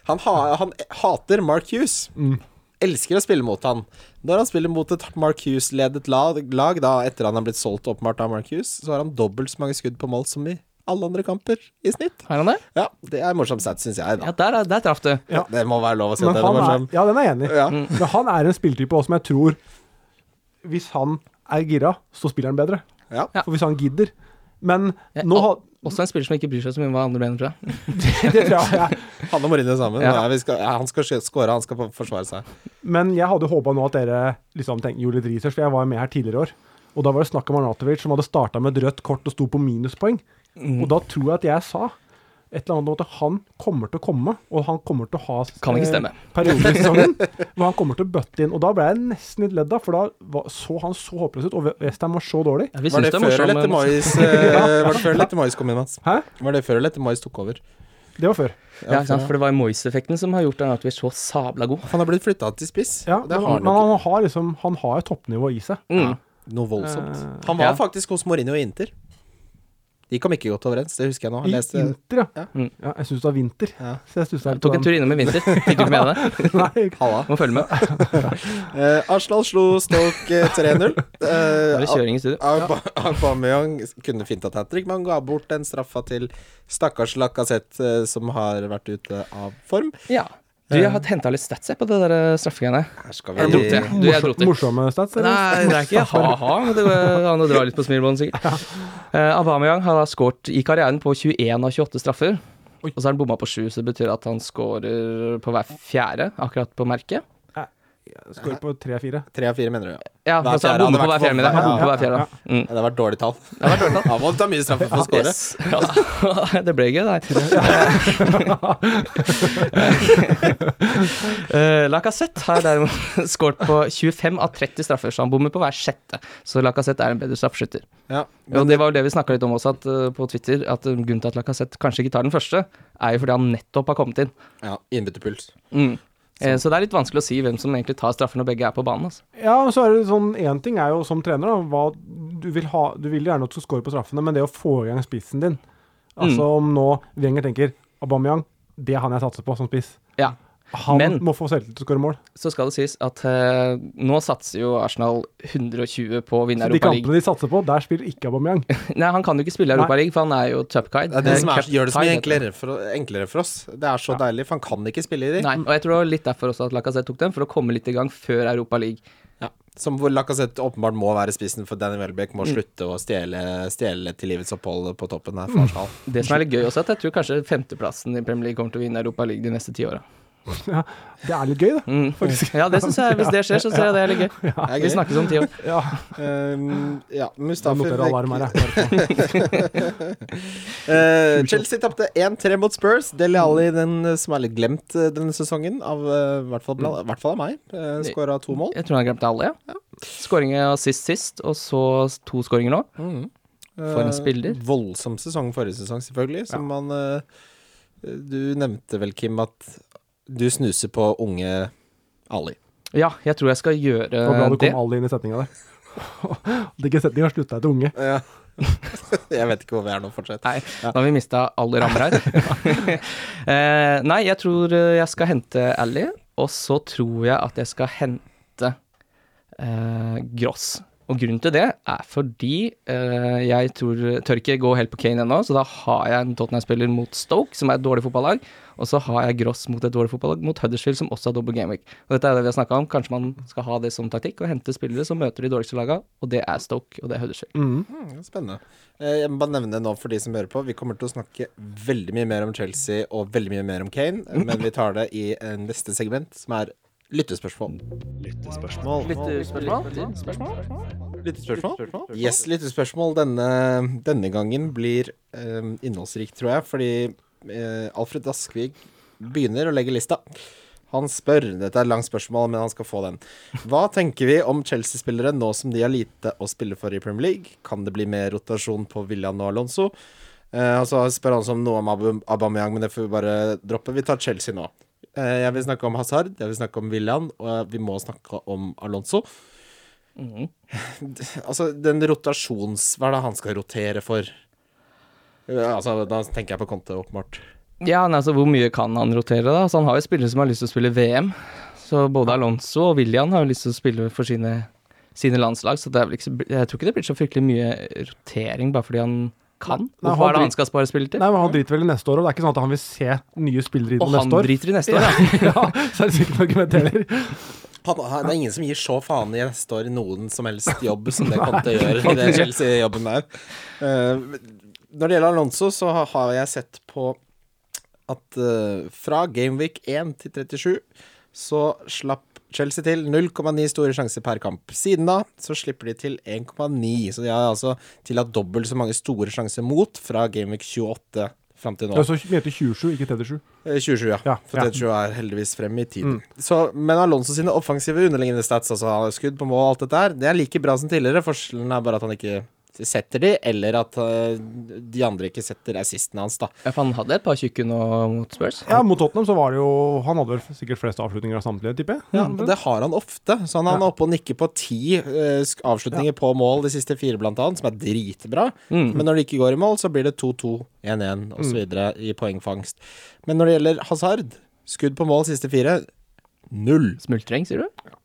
A: han, ha, han hater Mark Hughes.
B: Mm.
A: Elsker å spille mot han. Når han spiller mot et Mark Hughes-ledet lag, lag da, etter han har blitt solgt åpenbart av Mark Hughes, så har han dobbelt så mange skudd på mål som i alle andre kamper i snitt.
B: Er han det?
A: Ja, det er en morsom stat, syns jeg.
B: Ja,
A: da
B: der, er- der traff du.
C: Ja.
A: Det sånn. Mm. må være lov å si at
C: Men
A: den er
C: han er,
A: morsom.
C: ja, den er jeg enig i.
A: Ja.
C: Men han er en spilletype også, som jeg tror Hvis han er gira, så spiller han bedre.
A: Ja.
B: Ja.
C: For hvis han gidder. Men
B: Jeg-
C: nå har [LAUGHS]
B: Også en spiller som ikke bryr seg så mye om hva andre mener, tror jeg.
C: Det tror jeg jeg
A: Han og Mourinho sammen.
B: Ja.
A: Nei, vi skal, ja, han skal sk- score, han skal forsvare seg.
C: Men jeg hadde håpa nå at dere liksom tenk, gjorde litt research, for jeg var jo med her tidligere i år. Og da var det snakk om Arnatovic som hadde starta med et rødt kort og sto på minuspoeng.
B: Mm.
C: Og da tror jeg at jeg sa et eller annet om at han kommer til å komme, og han kommer til å ha eh,
B: Kan ikke stemme.
C: perioder
B: [LAUGHS]
C: i sesongen hvor han kommer til å bøtte inn. Og da ble jeg nesten litt ledd av, for da var, så han så håpløs ut, og Westham var så dårlig.
B: Ja, vi
A: Var
B: syns
A: det,
B: det er
A: før eller
B: [LAUGHS] morsomt.
A: etter Moyes
B: men-
A: eh, Var det før eller etter Moyes kom inn, Mats?
C: Hæ?
A: Var det før eller etter Moyes tok over?
C: Det var før.
B: Ja, ikke sant? For det var Moyes-effekten som har gjort den at vi er så sabla god.
A: Han har blitt flytta til spiss.
C: Ja,
A: og det
C: men
A: har
C: men
A: han
C: han har liksom Han har et toppnivå i seg.
B: Mm.
A: jo noe voldsomt.
C: Eh,
A: Han var
B: ja.
A: faktisk hos Mourinho i Inter. De kom ikke godt overens, det husker jeg nå.
C: I
A: Jeg leste
C: Inter, ja.
A: Ja.
B: Mm.
C: ja jeg syns det var vinter.
A: Ja.
C: Så jeg stussa
B: Jeg tok en tur innom i vinter. Fikk du ikke
A: [LAUGHS]
B: med deg det?
C: [LAUGHS] Nei,
A: Halla.
B: Må følge med.
A: Eh, Arsenal slo Stoke eh,
B: [LAUGHS]
A: 3-0.
B: Det
A: Eh,
B: er kjøring i studio.
A: Auba- Aubameyang kunne fint hatt hat trick, men han ga bort den straffa til stakkars Lacassette, eh, som har vært ute av form.
B: Ja. Du, jeg har henta litt stats jeg, på det der eh, straffegreiene.
A: Her skal
B: Jeg dro til. Du, jeg dro
C: morsom,
B: til.
C: morsomme stats, eller?
B: Nei, det er ikke ha-ha, men det var han å dra litt på smilebåndet, sikkert. Eh, Aubameyang har da skåret i karrieren på 21 av 28 straffer.
C: Oi.
B: Og så har han bomma på 7, så det betyr at han skårer på hver fjerde, akkurat på merket.
C: Skår på 3-4.
A: Tre av fire, mener du? Ja.
B: Ja,
A: Hver
B: altså, han
A: fjerde,
B: bommer
A: hadde
B: på
A: vært
B: hver fjerde.
A: for-
B: middag, Han bommer på
C: ja,
B: hver fjerde. Mm.
A: Det hadde vært dårlig tall.
B: Det har vært
A: [LAUGHS]
B: dårlig.
A: Han må ta mye straffe for å score.
B: Yes. Ja, [LAUGHS] det ble gøy, det her. Eh, Lacassette har derimot [LAUGHS] skåret på 25 av 30 straffer, så han bommer på hver sjette. Så Lacassette er en bedre straffeskytter.
A: Ja,
B: Og
A: men
B: det var jo det vi snakka litt om også at, eh, på Twitter, at eh, grunnen til at Lacassette kanskje ikke tar den første, er jo fordi han nettopp har kommet inn.
A: ja, innbytterpuls.
B: Mm. Eh, Så det er litt vanskelig å si hvem som egentlig tar straffer når begge er på banen. Altså.
C: Ja, og så er det sånn Én ting er jo som trener, da, hva du vil ha Du vil gjerne at du skal score på straffene, men det å få i gang spissen din
B: Mm.
C: Altså om nå Wenger tenker Aubameyang, det er han jeg satser på som spiss.
B: Ja.
C: Han
B: Men-
C: må få selvtillit til å skåre mål.
B: Så skal det sies at eh, nå satser jo Arsenal 120 på å vinne
C: Så de
B: Europa League.
C: kampene de satser på, der spiller ikke Aubameyang.
B: Nei, han kan jo ikke spille Europa League, for han er jo
A: Det
B: tupkide.
A: er det som er,
B: Cup
A: gjør det så mye
B: tie, Eh, heter det.
A: enklere for, enklere for oss. Det er så deilig, for han kan ikke spille i de.
B: Nei, og jeg tror det var litt derfor også at Lacassette tok den, for å komme litt i gang før Europa League.
A: Ja. Som hvor Lacassette åpenbart må være spissen, for Danny Welbeck
B: Mm.
A: må slutte å stjele, stjele til livets opphold på toppen her. for Arsenal.
B: Det som er litt gøy også, er at jeg tror kanskje femteplassen i Premier League kommer til å vinne Europa League de neste ti åra.
C: Ja, det er litt gøy,
B: [LAUGHS]
C: det.
B: Mm. Ja, det syns jeg. Hvis det skjer, så ser jeg det er litt gøy.
A: Det er
B: Vi
A: gøy.
B: snakkes om ti år.
C: Ja,
A: Um, ja,
C: da
A: Mustafi
C: noterer alarm her,
A: fikk
C: jeg.
A: Eh, Chelsea tapte 1-3 mot Spurs. Dele Alli, den eh, som er litt glemt eh, denne sesongen, av, eh, i hvert fall bla- i hvert fall av meg, uh, skåra to mål.
B: Jeg tror han har glemt alle, ja. Skåringer sist sist, og så to skåringer nå. For en
A: Eh,
B: Mm. spiller.
A: voldsom sesong forrige sesong, selvfølgelig. Som man eh, Du nevnte vel, Kim, at du snuser på unge Ali.
B: Ja, jeg tror jeg skal gjøre
C: Det var bra du
B: Eh, det.
C: kom alle inn i setninga der. [LAUGHS] Den setninga slutta etter
A: [LAUGHS]
C: unge.
A: jeg vet ikke hvor vi er nå, fortsett.
B: Nei, nå har vi mista alle rammer her. Eh, nei, jeg tror eh, jeg skal hente Ally, og så tror jeg at jeg skal hente eh, Gross. Og grunnen til det er fordi eh, jeg tror, tør ikke gå helt på Kane ennå, så da har jeg en Tottenham-spiller mot Stoke, som er et dårlig fotballag, og så har jeg Gross mot et dårlig fotballag, mot Huddersfield, som også har dobbel gameweek. Og dette er det vi har snakka om, kanskje man skal ha det som taktikk, og hente spillere som møter de dårligste laga, og det er Stoke, og det er Huddersfield.
C: Mm.
A: Mm, Spennende. Eh, Jeg må bare nevne nå for de som hører på, vi kommer til å snakke veldig mye mer om Chelsea og veldig mye mer om
B: [LAUGHS]
A: Kane, eh, men vi tar det i eh, neste segment, som er lyttespørsmål. Lyttespørsmål? Lyttespørsmål? Yes, lyttespørsmål. Denne, denne gangen blir eh, innholdsrik, tror jeg, fordi eh, Alfred Askvig begynner å legge lista. Han spør Dette er et langt spørsmål, men han skal få den. Hva tenker vi om Chelsea-spillere nå som de har lite å spille for i Premier League? Kan det bli mer rotasjon på William og Alonso? Eh, og så spør han også om noe om Aub- Aubameyang, men det får vi bare droppe. Vi tar Chelsea nå. Eh, jeg vil snakke om Hazard, jeg vil snakke om William, og vi må snakke om Alonso. Altså, den rotasjons... Hva er det han skal rotere for? Eh, Altså, da tenker jeg på Conte, åpenbart.
B: Ja, nei, altså Hvor mye kan han rotere, da? Altså, han har jo spillere som har lyst til å spille VM. Så både Alonso og William har jo lyst til å spille for sine, sine landslag, så det er vel ikke, så- jeg tror ikke det blir så fryktelig mye rotering bare fordi han kan.
C: Nei,
B: Og
C: han
B: Hva er det
C: drit-
B: han skal spare spille til?
C: Nei, men Han driter vel i neste år òg. Det er ikke sånn at han vil se nye spillere inn
B: og
C: neste
B: han
C: år.
B: driter i neste år, ja.
C: [LAUGHS] ja, så er det sikkert noe argument heller.
A: Han, han, det er ingen som gir så faen i neste år i noen som helst jobb som det Conte gjør i den Chelsea-jobben der. Eh, når det gjelder Alonso, så ha- har jeg sett på at eh, fra Gameweek 1 til 37 så slapp Chelsea til 0,9 store sjanser per kamp. Siden da så slipper de til 1,9, så de har altså tillatt dobbelt så mange store sjanser mot fra Gameweek 28 fram til nå.
C: Ja, så heter 27, ikke 37.
A: Eh, 27, ja. Mm.
C: Ja,
A: For
C: ja.
A: 37 er heldigvis frem i tiden. Så, men Alonso sine offensive underliggende stats, altså skudd på mål og alt dette her, det er like bra som tidligere. Forskjellen er bare at han ikke setter de, eller at eh, de andre ikke setter assisten hans, da.
B: Ja, for han hadde et par tjukke nå mot Spurs.
C: Ja, Mot Tottenham så var det jo Han hadde vel sikkert flest avslutninger av samtlige, tipper jeg.
A: Ja, og det har han ofte. Så han, han er oppe og nikker på ti eh, sk- avslutninger på mål de siste fire, blant annet, som er dritbra. Men når det ikke går i mål, så blir det 2-2, 1-1 osv. i poengfangst. Men når det gjelder Hazard, skudd på mål siste fire, null.
B: Smultring, sier du?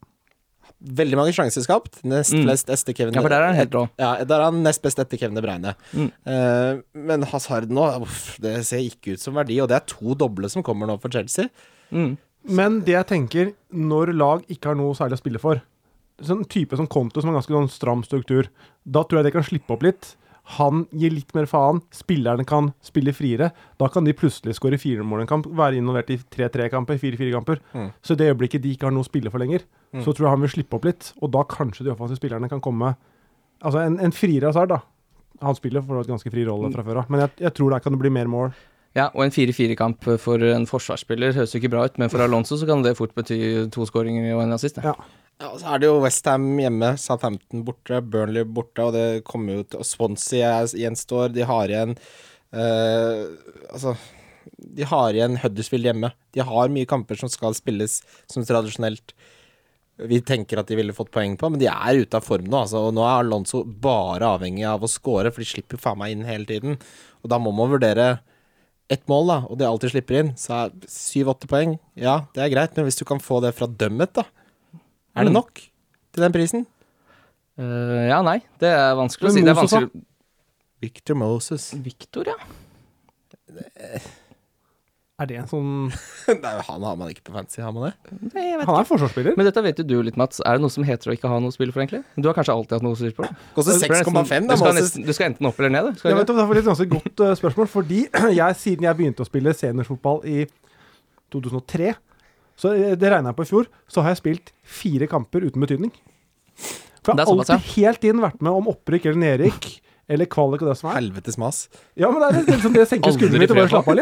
A: Veldig mange sjanser skapt. Nest
B: Mm.
A: flest etter Kevin
B: Ja, for der er han helt rå.
A: Ja, der er han nest best etter Kevin De Bruyne.
B: Mm.
A: Eh, men Hazard nå, uff, det ser ikke ut som verdi, og det er to doble som kommer nå for Chelsea.
B: Mm.
C: Men det jeg tenker, når lag ikke har noe særlig å spille for Sånn type som Konto, som har ganske sånn stram struktur, da tror jeg de kan slippe opp litt. Han gir litt mer faen. Spillerne kan spille friere. Da kan de plutselig skåre fire mål i en kamp, være involvert i tre-tre-kamper, fire-fire-kamper.
A: Mm.
C: Så i det øyeblikket de ikke har noe å spille for lenger,
A: Mm.
C: så tror jeg han vil slippe opp litt. Og da kanskje de offensive spillerne kan komme Altså en, en friere Hazard, da. Han spiller for så vidt ganske fri rolle fra før av, men jeg, jeg tror der kan det bli mer mål.
B: Ja, og en 4-4-kamp for en forsvarsspiller høres jo ikke bra ut, men for Alonso så kan det fort bety to skåringer og en assist. Ja.
C: Ja.
A: Ja, og så er det jo Westham hjemme, Southampton borte, Burnley borte, og det kommer jo til Og Swansea er- gjenstår, de har igjen eh, Altså De har igjen Huddersfield hjemme. De har mye kamper som skal spilles som tradisjonelt vi tenker at de ville fått poeng på, men de er ute av form nå. Altså, og nå er Alonso bare avhengig av å score, for de slipper jo faen meg inn hele tiden. Og da må man vurdere ett mål, da, og det alltid slipper inn, så er syv-åtte poeng. Ja, det er greit, men hvis du kan få det fra dømmet, da. Er det
B: Mm.
A: nok til den prisen?
B: Eh, ja, nei, det er vanskelig å
C: Men
B: si. Det er
C: Moses, da?
B: vanskelig
A: Victor Moses.
B: Victor, ja.
C: Er det en sånn
A: [LAUGHS] Nei, han har man ikke på fancy, har man det?
B: Nei, jeg vet
C: [LAUGHS] Han er forsvarsspiller.
B: Men dette vet jo du litt, Mats. Er det noe som heter å ikke ha noe å spille for, egentlig? Du har kanskje alltid hatt noe å spille for?
A: Koster
B: Du skal
A: 6,5,
B: nesten-
A: da,
B: du, skal
A: Moses.
B: nesten, du skal enten opp eller ned, du. Skal
C: Jeg
B: du
C: vet
B: ikke?
C: om Det er et ganske godt eh, spørsmål, fordi [CLEARS THROAT] jeg, siden jeg begynte å spille seniorfotball i 2003, så eh, det regna jeg på i fjor, så har jeg spilt fire kamper uten betydning. For
B: Det
C: jeg
B: er
C: har
B: såpass, ja.
C: alltid helt inn vært med om opprykk eller
B: [LAUGHS]
C: nedrykk. Eller kvalik og det som er.
A: Helvetes mas.
C: Ja, men det er litt liksom det senker
B: Aldri
C: skuldrene litt og bare
B: fred,
C: slappe av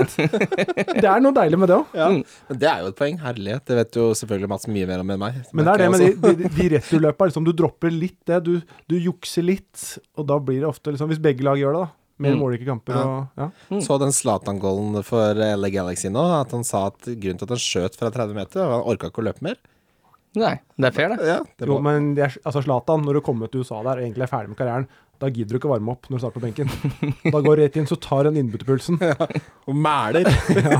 C: litt. Det er noe deilig med det òg.
A: Men det er jo et poeng. Herlighet. Det vet jo selvfølgelig Mats mye mer om enn meg.
C: Men det er det
A: merker
C: med de,
A: jeg også.
C: de, de returløpa. Liksom, du dropper litt det. Du, du jukser litt. Og da blir det ofte liksom Hvis begge lag gjør det, da. Mer
B: Mm.
C: målrike kamper
A: Ja.
C: og ja.
A: Så den Zlatan-goalen for LA Galaxy nå, at han sa at grunnen til at han skjøt fra 30 meter, var at han orka ikke å løpe mer.
B: Nei, det er fair, det.
A: Ja, det
C: Jo,
A: må-
C: men det er, altså Zlatan, når du kommer til USA der og egentlig er ferdig med karrieren, da gidder du ikke å varme opp når du starter på benken.
A: [LAUGHS]
C: Da går du rett inn, så tar han innbytterpulsen.
A: Og mæler. [LAUGHS]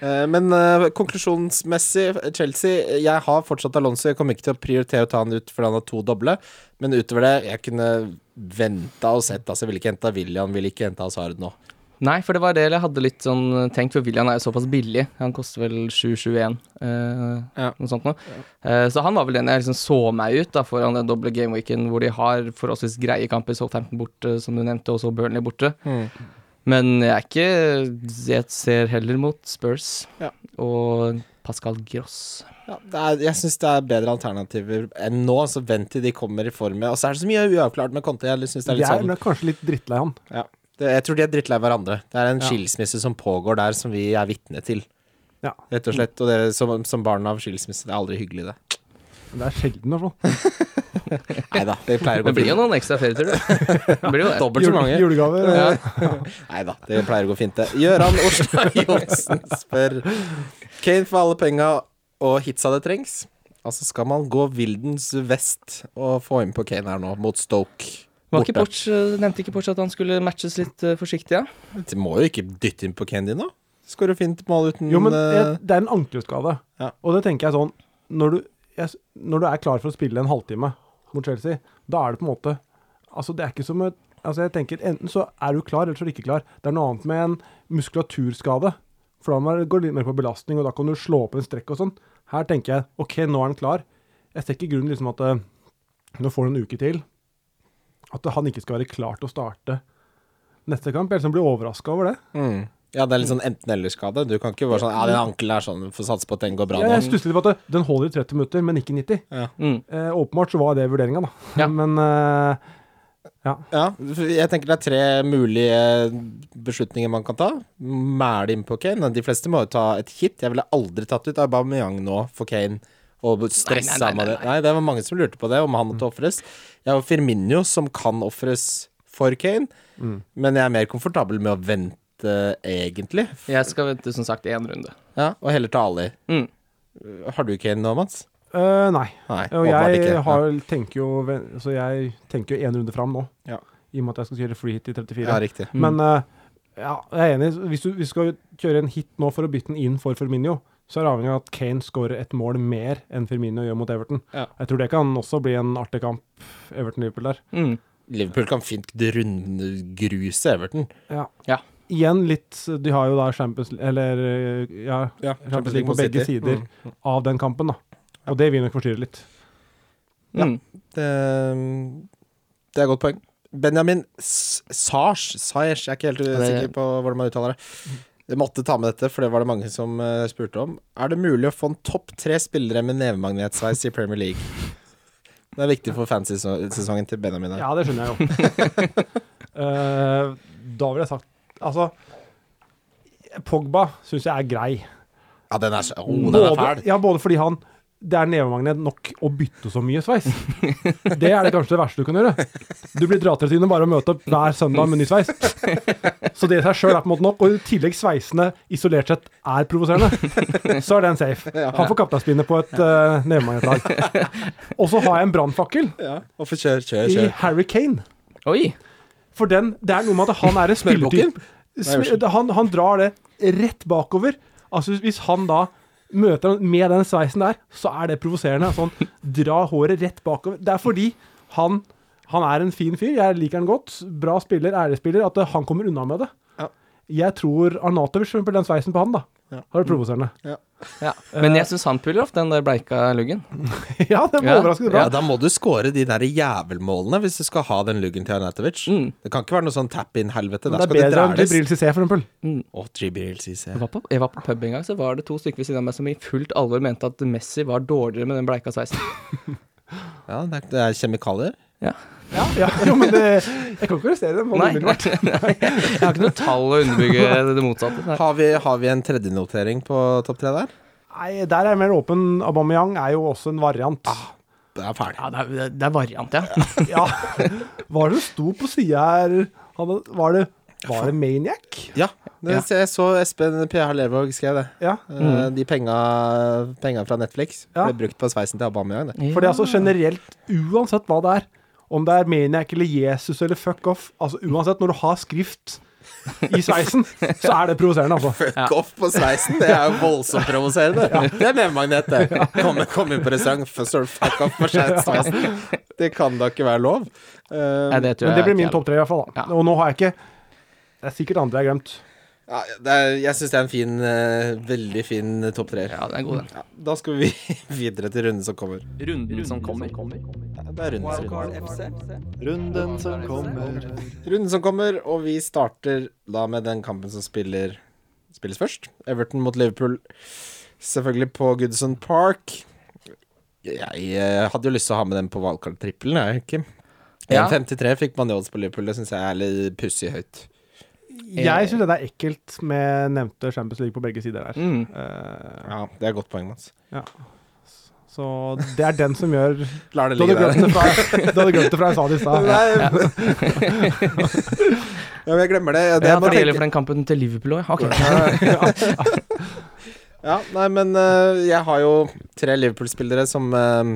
A: Eh, Men eh, konklusjonsmessig, Chelsea Jeg har fortsatt Alonso. Jeg kommer ikke til å prioritere å ta han ut fordi han har to doble. Men utover det, jeg kunne venta og sett. Altså, jeg ville ikke henta William, ville ikke henta Hazard nå.
B: Nei, for det var det jeg hadde litt sånn tenkt, for William er jo såpass billig. Han koster vel 7,71, eh,
A: Ja.
B: noe sånt noe. Eh, så han var vel den jeg liksom så meg ut da, foran den doble gameweeken hvor de har forholdsvis greie kamper, Southampton borte, som du nevnte, og så Burnley borte. Men jeg er ikke Jeg ser heller mot Spurs
A: Ja.
B: og Pascal Gross.
A: Ja, det er, jeg syns det er bedre alternativer enn nå, så vent til de kommer i form. Og så er det så mye uavklart med Conte. Jeg synes det
C: De
A: er litt
C: er
A: sånn
C: kanskje litt drittlei han.
A: ja. det, Jeg tror de er drittlei hverandre. Det er en
C: Ja.
A: skilsmisse som pågår der, som vi er vitne til.
C: Ja.
A: Rett og slett. Og det, som, som barn av skilsmisse, det er aldri hyggelig, det.
C: Men det er sjelden, i hvert fall.
A: Nei da, det pleier å
B: Det
A: gå
B: blir jo
A: fint.
B: noen ekstra ferieturer. [LAUGHS] Det blir jo det.
A: Dobbelt så
C: Jule-
A: mange.
C: Julegaver. eh,
B: Ja.
A: Nei da, det pleier å gå fint, det. Gøran
B: [LAUGHS]
A: Orstad Johnsen spør Kane for alle penga og hitsa det trengs. Altså, skal man gå Vildens vest og få inn på Kane her nå, mot Stoke?
B: Var ikke Porch, eh, nevnte ikke Porch at han skulle matches litt eh, forsiktig, ja?
A: De må jo ikke dytte inn på Kane din nå. Skårer fint mål uten
C: Jo, men
A: eh,
C: jeg, det er en ankelskade.
A: Ja.
C: Og det tenker jeg sånn når du, jeg, når du er klar for å spille en halvtime mot Chelsea, da er det på en måte Altså, det er ikke som et Altså, jeg tenker enten så er du klar, eller så er du ikke klar. Det er noe annet med en muskulaturskade. For da må det- går det litt mer på belastning, og da kan du slå opp en strekk og sånn. Her tenker jeg OK, nå er han klar. Jeg ser ikke grunnen liksom at eh, Nå får han en uke til. At han ikke skal være klar til å starte neste kamp. Jeg liksom blir overraska over det.
A: mm. Ja, det er litt sånn enten-eller-skade. Du kan ikke være sånn Ja, den ankelen er sånn, vi får satse på at den går bra
C: Jeg, jeg
A: nå.
C: stusser litt på at det- den holder i 30 minutter, men ikke 90.
B: Mm.
C: Eh, åpenbart så var det vurderinga, da.
B: Ja.
C: [LAUGHS] Men eh,
A: Ja, jeg tenker det er tre mulige beslutninger man kan ta. Mæle inn på Kane. De fleste må jo ta et hit. Jeg ville aldri tatt ut Aubameyang nå for Kane og stressa
B: Nei, nei, nei,
A: med det.
B: nei,
A: Nei, det var mange som lurte på det, om han måtte ofres. Jeg har Firmino, som kan ofres for Kane,
C: Mm.
A: men jeg er mer komfortabel med å vente, egentlig.
B: Jeg skal vente som sagt én runde.
A: Ja, og heller ta Ali.
B: Mm.
A: Har du Kane nå, Mats?
C: Eh, nei.
A: Nei,
C: Og
A: åpenbart
C: jeg,
A: ikke.
C: har, tenker jo, ve- så jeg tenker jo én runde fram nå,
A: Ja.
C: i og med at jeg skal kjøre free hit i 34.
A: Ja, riktig.
C: Men eh, ja, jeg er enig. Hvis du, hvis du skal kjøre en hit nå for å bytte den inn for Firmino, så er det avhengig av at Kane skårer et mål mer enn Firmino gjør mot Everton.
A: Ja.
C: Jeg tror det kan også bli en artig kamp, Everton-Liverpool der.
B: Mm.
A: Liverpool kan fint rundgruse Everton.
C: Ja.
B: Ja.
C: Igjen litt De har jo da Champions Eller eh, ja,
A: Ja,
C: Champions League Mm. på begge sider av den kampen, da. Og det vil nok forstyrre litt.
B: Mm.
A: Det, Eh, det er et godt poeng. Benjamin S- Sars, Sars, jeg er ikke helt sikker på hvordan man uttaler det. Jeg måtte ta med dette, for det var det mange som eh, spurte om. Er det mulig å få en topp tre spillere med nevemagnetsveis i Premier League? Det er viktig for fansesongen til Benjamin. Her.
C: Ja, det skjønner jeg jo. Eh, da ville jeg sagt Altså, Pogba syns jeg er grei.
A: Ja, den er, så- oh, den er fæl.
C: Ja, både fordi han det er nevemagnet nok å bytte så mye
A: [LAUGHS]
C: sveis. Det er det kanskje det verste du kan gjøre. Du blir dratrutine bare å møte opp hver søndag med ny sveis. Så det i seg sjøl er på en måte nok, og i tillegg sveisene isolert sett er provoserende, så er den safe. Han får kapteinspinnet på et uh, nevemagnetlag.
A: [LAUGHS]
C: Og så har jeg en brannfakkel
A: Ja. Og få kjør, kjør,
C: i
A: kjør.
C: Harry Kane.
B: Oi!
C: For den, det er noe med at han [LAUGHS] er en
A: Smellbukken?
C: spilletype.
A: Nei, unnskyld.
C: Sm- Han, han drar det rett bakover. Altså Hvis han da møter han med den sveisen der, så er det provoserende. Altså, han drar håret rett bakover. Det er fordi han, han er en fin fyr. Jeg liker han godt. Bra spiller, ærespiller. At eh, han kommer unna med det.
A: Ja.
C: Jeg tror Arnatovic puler den sveisen på han, da.
A: Ja.
C: Da er det provoserende.
B: Ja. Men jeg syns han puller ofte den der bleika luggen.
C: [LAUGHS] ja, det var
B: Ja.
C: overraskende bra.
A: Ja, da må du score de der jævelmålene hvis du skal ha den luggen til Arnatovic.
B: Mm.
A: Det kan ikke være noe sånn tap-in-helvete.
C: Men
A: Der
C: det er
A: skal det
C: bedre enn
A: dræles.
C: Jibril Cissé, for eksempel.
A: Å, Jibril, Cissé.
B: Jeg var, på, jeg var på pub en gang, så var det to stykker ved siden av meg som i fullt alvor mente at Messi var dårligere med den bleika sveisen. [LAUGHS]
A: Ja, det er, det er kjemikalier.
B: Ja.
C: Ja, ja. Jo, men det, jeg kan ikke arrestere dem.
B: Nei, nei,
C: umiddelbart.
B: nei, jeg har ikke noe tall å underbygge det motsatte. Nei.
A: Har vi, har vi en tredjenotering på topp tre der?
C: Nei, der er jeg mer åpen. Aubameyang er jo også en variant.
B: Ah.
A: Det er ferdig.
B: Ja, det er, det er variant, ja.
C: [LAUGHS] Ja. Hva er det som sto på sida her? Han- Var det, var det Maniac?
A: Ja. Det,
B: Ja. Mm.
A: Jeg så Espen PH Lervåg skrev det.
C: Ja.
A: Eh, De penga, penga fra Netflix
C: Ja.
A: ble brukt på sveisen til Aubameyang. Det.
C: For det er altså generelt, uansett hva det er, om det er Maniac eller Jesus eller fuck off Altså uansett, når du har skrift i sveisen, så er det provoserende, altså.
A: Fuck off på sveisen! Det er jo voldsomt provoserende. Det er nevemagnet, det. Kom, kom inn på restaurant, f- så fuck off på sveisen. Det kan da ikke være lov. Eh,
B: Nei, det tror
C: Men det
B: jeg
C: blir min
B: ikke
C: topp tre, i hvert fall. da.
B: Ja.
C: Og nå har jeg ikke Det er sikkert andre jeg har glemt.
A: ja, det er, jeg syns det er en fin, eh, veldig fin topp treer.
B: Ja, den er god, den.
A: Ja, da skal vi [LAUGHS] videre til runden som kommer.
B: Runden som kommer.
A: Ja, Det er rundens runde.
D: Runden som kommer.
A: Runden som kommer, og vi starter da med den kampen som spiller spilles først. Everton mot Liverpool, selvfølgelig på Goodson Park. Jeg eh, hadde jo lyst til å ha med dem på valgkarttrippelen, jeg, Kim.
B: Ja.
A: 1,53 fikk man i odds på Liverpool, det syns jeg er litt pussig høyt.
B: Eh.
C: Jeg syns det er ekkelt med nevnte Champions League på begge sider her.
B: Mm.
C: Eh,
A: Ja, Det er et godt poeng, Mats.
C: Så det er den som gjør
A: Lar det
C: Du
A: ligge
C: hadde
A: der. [LAUGHS]
C: glemt det fra, du hadde glemt det fra jeg sa det i stad.
A: Nei. [LAUGHS] ja, men jeg glemmer det. det
B: Ja,
A: jeg må
B: for det
A: tenke-
B: gjelder for den kampen til Liverpool òg, [LAUGHS] ja. Ok.
A: Ja, nei, men eh, jeg har jo tre Liverpool-spillere som, eh,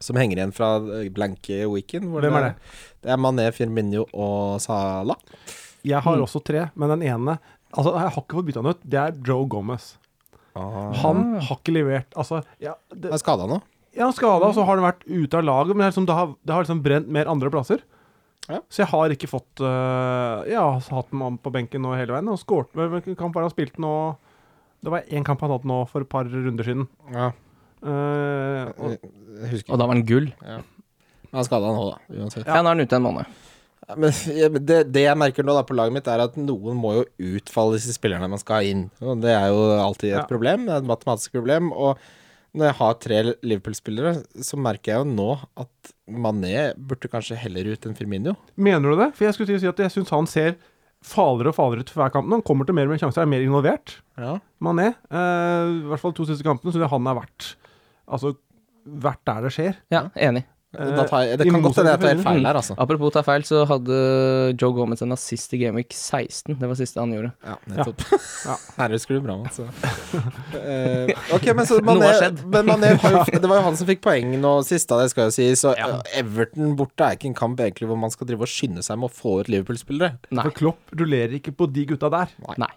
A: som henger igjen fra eh, blanke weekend. hvor
C: Hvem er det?
A: Det er Mané, Firmino og Salah.
C: Jeg har også tre, men den ene Altså, Jeg har ikke fått bytta den ut. Det er Joe Gomez. Han
A: Ah.
C: har ikke levert Altså, ja, det,
A: Han er skada nå.
C: ja skada, så har han vært ute av laget, men det, er liksom, det, har, det har liksom brent mer andre plasser.
A: Ja.
C: Så jeg har ikke fått øh, Jeg har hatt ham på benken nå hele veien. Og skåret med hvilken kamp var det han spilte nå Det var én kamp han hadde nå for et par runder siden.
A: Ja,
C: Eh, og,
A: jeg husker ikke.
B: Og da var den gull.
A: Men Han er skada nå, da. Uansett.
B: Ja, nå er den ute en måned.
A: Ja, Men ja, men det, det jeg merker nå da på laget mitt, er at noen må jo utfalle disse spillerne man skal ha inn. Og det er jo alltid et
C: Ja.
A: problem. Det er et matematisk problem. Og når jeg har tre Liverpool-spillere, så merker jeg jo nå at Mané burde kanskje heller ut enn Firmino.
C: mener du det? For jeg skulle til å si at jeg syns han ser farligere og farligere ut for hver kamp. nå. Han kommer til mer og mer sjanser, er mer involvert.
A: Ja.
C: Mané, eh, i hvert fall to siste kampene, så det han er verdt. altså vært der det skjer.
B: Ja, enig.
A: Da tar jeg, det
C: I
A: kan godt hende jeg tar
C: motsetning til
A: feil her, altså.
B: Apropos ta feil, så hadde Joe Gomez en assist i Gameweek 16. Det var siste han gjorde.
A: Ja, nettopp.
C: Ja.
A: [LAUGHS] Her husker du bra, Mats. så. Eh, ok, men [LAUGHS] så
B: Noe har
A: Mané,
B: skjedd.
A: men Mané [LAUGHS] har jo, det var jo han som fikk poeng nå sist, da, det skal jo sies. Så eh, Everton borte er ikke en kamp egentlig hvor man skal drive og skynde seg med å få ut Liverpool-spillere.
B: Nei.
C: For Klopp rullerer ikke på de gutta der.
B: Nei.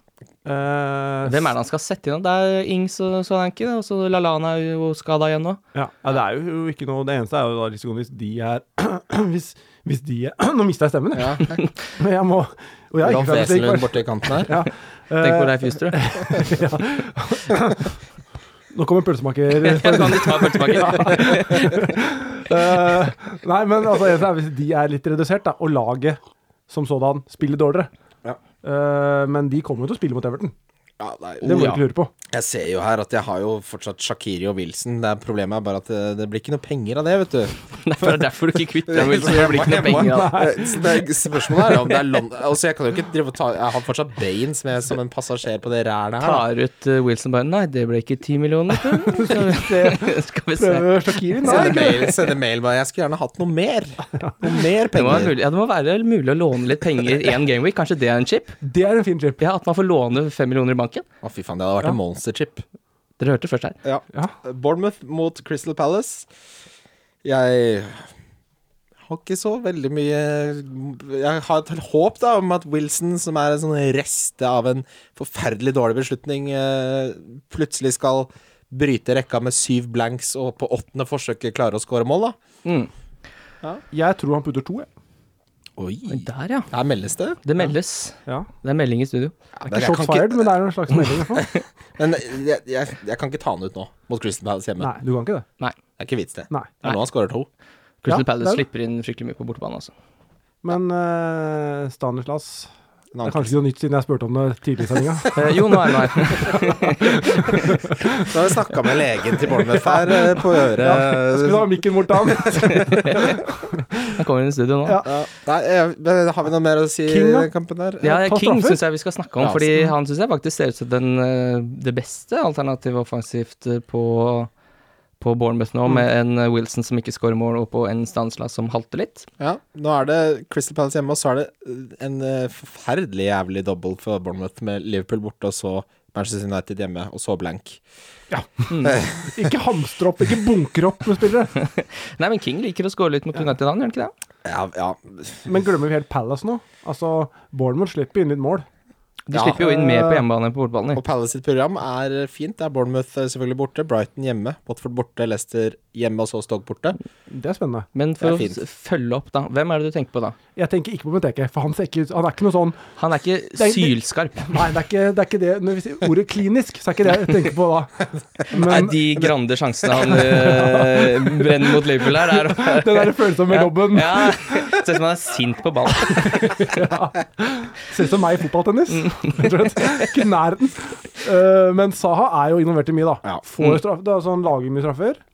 C: Eh,
B: Hvem er det han skal sette inn? da? Det er Ings og Solanke, og så Lalana er jo skada igjen nå.
C: Ja, ja, det er jo ikke noe Det eneste er jo da risikoen hvis de er [CLEARS THROAT] Hvis, hvis de er [CLEARS THROAT] Nå mista jeg stemmen, jeg.
A: Ja.
C: [LAUGHS] Men jeg må Og jeg er
A: Rolf
C: ikke ferdig, så jeg gikk
A: Wesenlund
C: bare-
A: borte i kanten her.
C: [LAUGHS] Ja.
B: [LAUGHS]
C: Eh,
B: Tenk på Leif Justerud. [LAUGHS]
C: Nå kommer pølsemaker.
B: [LAUGHS] Kan de ta pølsepakken?
C: Eh, nei, men altså, eneste er hvis de er litt redusert, da, og laget som sådan spiller dårligere.
A: Ja.
C: Eh, men de kommer jo til å spille mot Everton.
A: Ja, nei,
C: Det må du
B: Oh,
A: ja.
C: ikke lure
B: [LAUGHS]
C: på.
A: Jeg ser jo her at jeg har jo fortsatt Shakiri og Wilson. Det er Problemet er bare at det, det blir ikke noe penger av det, vet du.
B: Nei, for Det er derfor du ikke kvitter deg med Wilson, for det blir ikke noe penger av det.
A: Eh, så det er- Spørsmålet er om det er London Altså, jeg kan jo ikke drive og ta Jeg har fortsatt Baines med som en passasjer på det rælet her. da.
B: Tar ut eh, Wilson bare Nei, det ble ikke ti millioner. [LAUGHS] Skal vi se.
C: Prøver Shakiri? Nei,
A: Sende mail, sende mail bare. Jeg skulle gjerne hatt noe mer. Noe mer
B: Det må, være
A: penger.
B: mulig, ja, det må være mulig å låne litt penger i en gameweek. Kanskje det er en chip?
C: det er en fin chip.
B: Ja, At man får låne fem millioner i banken?
A: Å, fy faen, det hadde vært en monsterchip.
B: Dere hørte først her.
A: Ja.
C: Ja.
A: Bournemouth mot Crystal Palace. Jeg har ikke så veldig mye Jeg har et håp da om at Wilson, som er en sånn rest av en forferdelig dårlig beslutning, eh, plutselig skal bryte rekka med syv blanks og på åttende forsøket klare å score mål, da.
B: Mm.
C: Jeg tror han putter to, jeg.
A: Oi.
B: Men Der, ja.
A: Her meldes det.
B: Det meldes.
C: Ja.
B: Det er melding i studio.
A: Ja,
C: Ikke shots fired, men det er en slags melding. liksom. i [LAUGHS] hvert fall.
A: men jeg, jeg, jeg kan ikke ta han ut nå, mot Crystal Palace hjemme.
C: Nei, du kan ikke det.
A: Det er ikke vits, det.
C: Nei.
A: Det er nå han scorer to.
B: Crystal
C: Ja, det
B: Palace
C: er det.
B: slipper inn fryktelig mye på bortebane, [LAUGHS] altså.
C: Men eh, Stanislas
A: En
C: Det er
A: annen
C: kanskje ikke noe nytt siden jeg spurte om det tidligere i [LAUGHS] sendinga.
B: Eh, jo, nå er det meg. [LAUGHS]
A: Så har vi snakka med legen til Bournemouth her eh, på
C: Skulle
A: øret.
C: du ha mikken bort til han?
B: Han kommer inn i studio nå.
C: Ja.
A: Ja. Nei, eh, men har vi noe mer å si i
C: King, da?
A: den kampen der?
B: Ja,
C: Ta
B: King
C: straffer.
B: syns jeg vi skal snakke om,
A: Ja,
B: fordi han syns jeg faktisk ser ut som den, eh, det beste alternativet offensivt eh, på, på Bournemouth nå, med en eh, Wilson som ikke scorer mål, og på en Stanslas som halter litt.
A: Ja, nå er det Crystal Palace hjemme, og så er det eh, en eh, forferdelig jævlig double for Bournemouth med Liverpool borte, og så Manchester United hjemme, og så blank.
C: Ikke hamstre opp, ikke bunkre opp med spillere.
B: Nei, men King liker å score litt mot United, han gjør han ikke det?
A: Ja, ja.
C: Men glemmer vi helt Palace nå? Altså, Bournemouth slipper inn litt mål.
B: De
A: Ja.
B: slipper jo inn mer på hjemmebane enn på bortebane.
A: Og Palace sitt program er fint. Det er Bournemouth eh, selvfølgelig borte, Brighton hjemme, Watford borte, Leicester hjemme, og så Stoke borte.
C: Det er spennende.
B: Men for å
A: Det er fint.
B: s- følge opp, da. Hvem er det du tenker på da?
C: Jeg tenker ikke på Benteke, for han ser ikke ut Han er ikke noe sånn
B: Han er
C: er
B: ikke
C: ikke-
B: sylskarp.
C: Nei, det er ikke det, er ikke det. Når vi sier ordet klinisk, så er ikke det jeg tenker [LAUGHS] på da.
B: Nei,
C: Men
B: de grande sjansene
C: [LAUGHS]
B: han eh, brenner mot Liverpool her, er å
C: den der følsomme Robben
B: Ja, [LAUGHS] ser ut som han er sint på ballen.
C: ser ut som meg i fotballtennis. Rett og slett. Ikke i nærheten. Eh, men Saha er jo involvert i mye,
A: Ja.
C: da. Får straff, da, så han sånn lager mye straffer. [LAUGHS]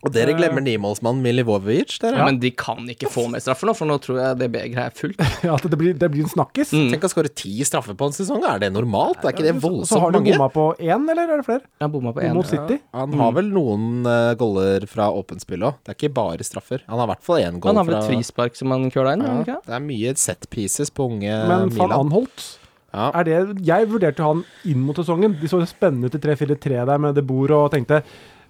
A: Og dere glemmer nimålsmannen Milivojevic, dere.
B: Ja. Men de kan ikke få mer straffer nå, for nå tror jeg det begeret er fullt.
C: Ja, at det blir, det blir en snakkis.
A: Tenk å skåre ti straffer på en sesong, er det normalt? Er ikke det
C: Og så har
A: voldsomt
C: de
A: mange?
C: bomma Mm. på én, eller er det flere?
B: Han bomma på én.
C: Mot City.
A: Han har vel noen uh, goller fra åpent spill òg. Det er ikke bare straffer. Han har i hvert fall én goal
B: Han har vel
A: fra
B: et frispark som han køla inn?
A: Ja,
B: har han ikke?
A: Det er mye set pieces på unge
C: Men van
A: Eh, Milan.
C: Anholt
A: Ja.
C: er det, Jeg vurderte han inn mot sesongen. De så spennende ut i 3-4-3 der med De Boer og tenkte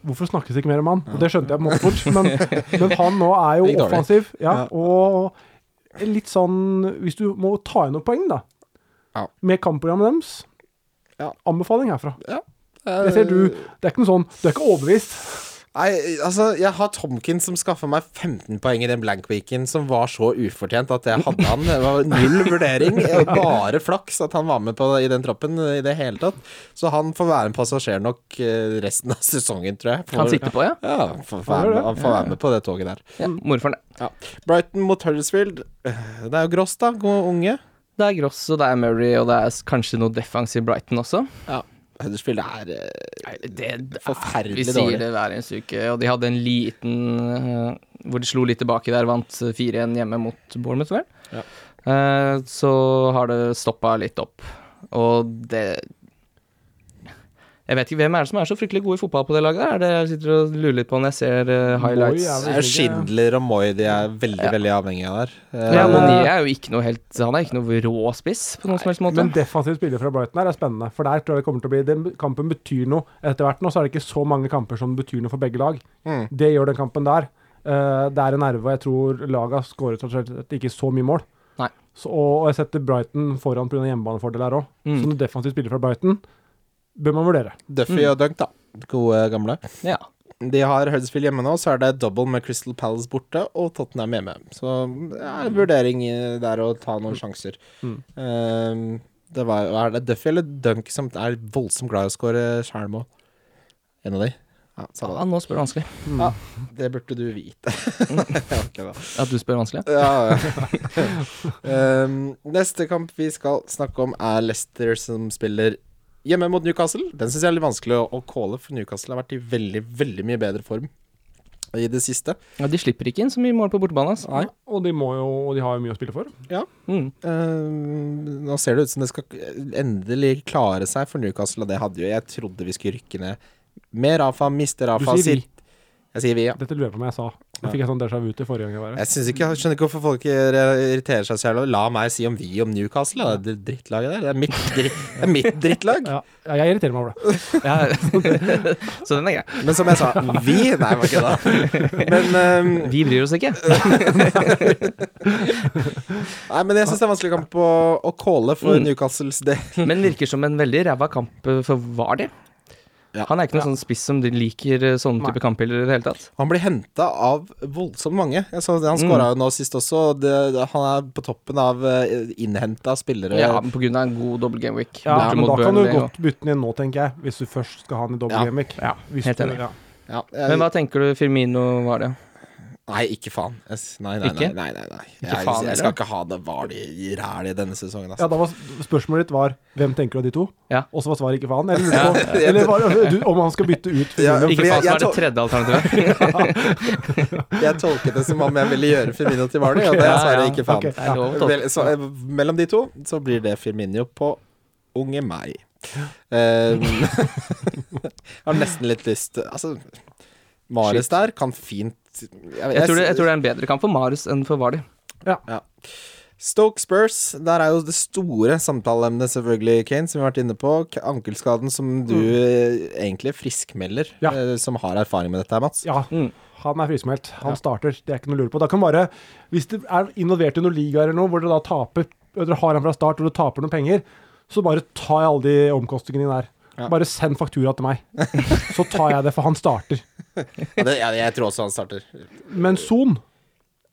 C: Hvorfor snakkes det ikke mer om han? Og det skjønte jeg på en måte
A: [LAUGHS]
C: fort, men, men han nå er jo
A: Det gikk dårlig.
C: offensiv. Ja, og litt sånn Hvis du må ta inn noen poeng, da,
A: Ja.
C: med kampprogrammet deres
A: Ja.
C: Anbefaling herfra.
A: Det
C: Det ser du. Det er ikke noe sånn Du er ikke overbevist.
A: Eh, Nei, altså, jeg har Tomkins som skaffa meg 15 poeng i den blank weeken, som var så ufortjent at jeg hadde han. Det var null vurdering, og bare flaks at han var med på, i den troppen eh, i det hele tatt. Så han får være en passasjer nok eh, resten av sesongen, tror jeg.
B: Han sitter på, ja.
A: Ja, han får
C: Han gjør
A: være
C: det.
A: med, han får være med på det toget der.
B: ja Morfaren. det.
A: Ja. Brighton mot Huddersfield. Det er jo gross, da. Gode unge.
B: Det er Gross, og det er Murray, og det er s- kanskje noe defensiv Brighton også.
A: Ja. Huddersfield er eh,
B: Nei, det er Vi
A: forferdelig
B: sier
A: dårlig.
B: det hver eneste uke, og de hadde en liten eh, Hvor de slo litt tilbake der, vant 4-1 hjemme mot Bournemouth, vel.
A: Ja.
B: Eh, så har det stoppa litt opp, og det Jeg vet ikke hvem er det som er så fryktelig gode i fotball på det laget der? Er det jeg sitter og lurer litt på når jeg ser eh,
C: Moi er
B: highlights?
A: Det er jo Schindler og Moi de er veldig
B: Ja.
A: veldig avhengige av der. Eh,
B: Ja, men de
C: eh,
B: er jo ikke noe helt Han er ikke noe rå spiss på noen som helst måte.
C: Men defensiv spiller fra Brighton her er spennende. For der tror jeg det kommer til å bli Den kampen betyr noe. Etter hvert nå så er det ikke så mange kamper som betyr noe for begge lag.
A: Mm.
C: Det gjør den kampen der. Eh, det er en nerve, og jeg tror laga skårer tross alt ikke så mye mål.
B: Nei.
C: Så, og, og jeg setter Brighton foran pga. hjemmebanefordel her òg.
B: Mm.
C: Så når defensiv spiller fra Brighton, bør man vurdere.
A: Duffy og Dunk, da. Gode gamle.
B: Ja.
A: De har Huddersfield hjemme nå, så er det double med Crystal Palace borte og Tottenham hjemme. Så det er en vurdering eh, der å ta noen sjanser.
C: Mm.
A: Eh, det var, er det Duffy eller Dunk som er voldsomt glad i å skåre skjærmål? En av de? Ja,
B: ja,
A: samme
B: nå spør du vanskelig.
A: det. Det burde du vite.
C: Mm.
A: [LAUGHS] okay, da.
B: At du spør vanskelig?
A: Ja, [LAUGHS] ja. um, neste kamp vi skal snakke om, er Leicester som spiller hjemme mot Newcastle. Den syns jeg er litt vanskelig å, å calle, for Newcastle har vært i veldig, veldig mye bedre form i det siste.
B: Ja, de slipper ikke inn så mye mål på bortebane. Altså.
C: Og de, må jo, og de har jo mye å spille for.
B: Mm.
A: Um, nå ser det ut som det skal endelig klare seg for Newcastle, og det hadde jo jeg trodde vi skulle rykke ned med Rafa, miste Rafa
C: sier vi.
A: sitt- Jeg sier vi, ja.
C: Dette lurer jeg på om jeg sa. Da fikk jeg sånn déjà vu til forrige gang jeg var her.
A: Jeg, synes ikke, jeg skjønner ikke hvorfor folk irri- irriterer seg selv. La meg si om vi om Newcastle, da. det drittlaget der. Det er mitt, dritt, det er mitt drittlag.
C: Ja, ja, jeg irriterer meg over det.
B: Ja. [LAUGHS] så den er grei.
A: Men som jeg sa, vi Nei, det var ikke
B: [LAUGHS]
A: det. Men, ehm,
B: Vi bryr oss ikke.
A: nei, men jeg syns det er vanskelig kamp å, å calle for
B: Mm.
A: Newcastles del.
B: Men virker som en veldig ræva kamp eh, for Vardy.
A: Ja.
B: Han er ikke noen sånn spiss som de liker eh, sånne type kampbilder i det hele tatt.
A: Han blir henta av voldsomt mange. Jeg så, det, han skåra
B: Mm.
A: jo nå sist også. og Det, det, han er på toppen av innhenta spillere.
B: Ja, men på grunn av en god double game week.
C: Eh, Ja,
B: borte
C: men
B: mot
C: da kan du
B: Burnley og-
C: godt bytte den inn nå, tenker jeg. Hvis du først skal ha den i dobbel
A: Ja.
C: gameweek.
B: Ja,
C: Hvis
B: helt
C: du-
B: enig.
C: ja.
A: Ja, jeg,
B: Men hva tenker du Firmino var det?
A: Nei, ikke faen. Jeg, s- nei, nei, nei.
B: Ikke?
A: nei, nei, nei. Jeg,
B: Ikke
A: jeg,
B: faen,
A: skal
B: eller?
A: ikke ha det var de i ræl i denne sesongen.
C: Ja,
A: Altså.
C: da var s- Spørsmålet ditt var hvem tenker du av de to?
B: Ja.
C: Og så var svaret ikke faen.
B: [LAUGHS]
C: Jeg lurer på eller var, du, om han skal bytte ut.
A: Ja,
C: Firmino.
B: Ikke
A: fordi
B: faen
A: jeg-
B: som er det
A: jeg
B: tredje
C: [LAUGHS]
B: alternativet.
A: Jeg tolket det som om jeg ville gjøre Firmino til Vardy, og det
B: Ja,
A: er svaret
B: ja.
A: ikke faen.
C: Ok.
B: Det er lov altså. å
A: Vel,
B: tolke.
A: så, eh, mellom de to så blir det Firmino på unge meg. Um, [LAUGHS] har nesten litt lyst Altså, Mares der kan fint jeg,
B: Jeg tror, det, jeg tror det er en bedre kamp for Marius enn for Vardy.
A: Stoke Spurs, der er jo det store samtaleemnet selvfølgelig, Kane, som vi har vært inne på. K- Ankelskaden som du
B: Mm.
A: eh, egentlig friskmelder,
C: Ja.
A: eh, som har erfaring med dette her, Mats.
C: Ja,
B: Mm.
C: han er friskmeldt. Han starter, det er ikke noe å lure på. Da kan bare, Hvis det er involvert i noen ligaer eller noe, hvor dere da taper og Dere har han fra start og du taper noen penger, så bare ta alle de omkostningene dine der.
A: Ja.
C: Bare send faktura
B: [LAUGHS]
C: til meg, så tar jeg det, for han starter.
A: Og det, jeg, jeg tror også han starter.
C: Men Son,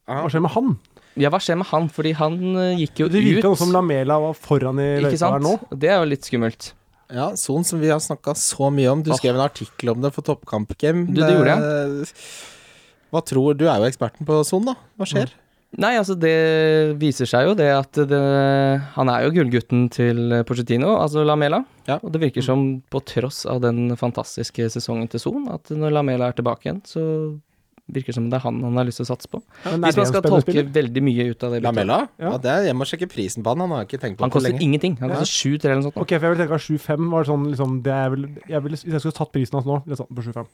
A: Ja.
C: hva skjer med han?
B: Ja, hva skjer med han? Fordi han eh, gikk jo
C: Det virka
B: ut.
C: som Lamela var foran i
B: Ikke
C: løypa
B: sant?
C: her nå.
B: Det er jo litt skummelt.
A: Ja, Son, som vi har snakka så mye om. Du skrev en artikkel om det for Toppkamp Game.
B: Du, det gjorde
A: jeg. Hva tror Du er jo eksperten på Son, da. Hva
B: Mm.
A: skjer?
B: Nei, altså det viser seg jo det at det, han er jo gullgutten til Pochettino, altså Lamela.
A: Ja.
B: Og det virker som, på tross av den fantastiske sesongen til Son, at når Lamela er tilbake igjen, så virker det som det er han han har lyst til å satse på.
C: Men er
B: Hvis
C: det
B: man
C: en
B: skal
C: spennende
B: tolke
C: spiller?
B: veldig mye ut av det. byttet.
A: Lamella? Ja.
C: Ja.
A: det er, jeg må sjekke prisen på han. Han har jeg ikke tenkt på
B: Han
A: på
B: koster
A: lenge.
B: ingenting. Han
C: Ja.
B: koster 7-3 eller noe sånt. nå.
C: Ok, for Jeg ville tenka 7-5 var sånn liksom, det er vel, jeg ville, Hvis jeg skulle tatt prisen hans nå, ville jeg satt den på 7-5.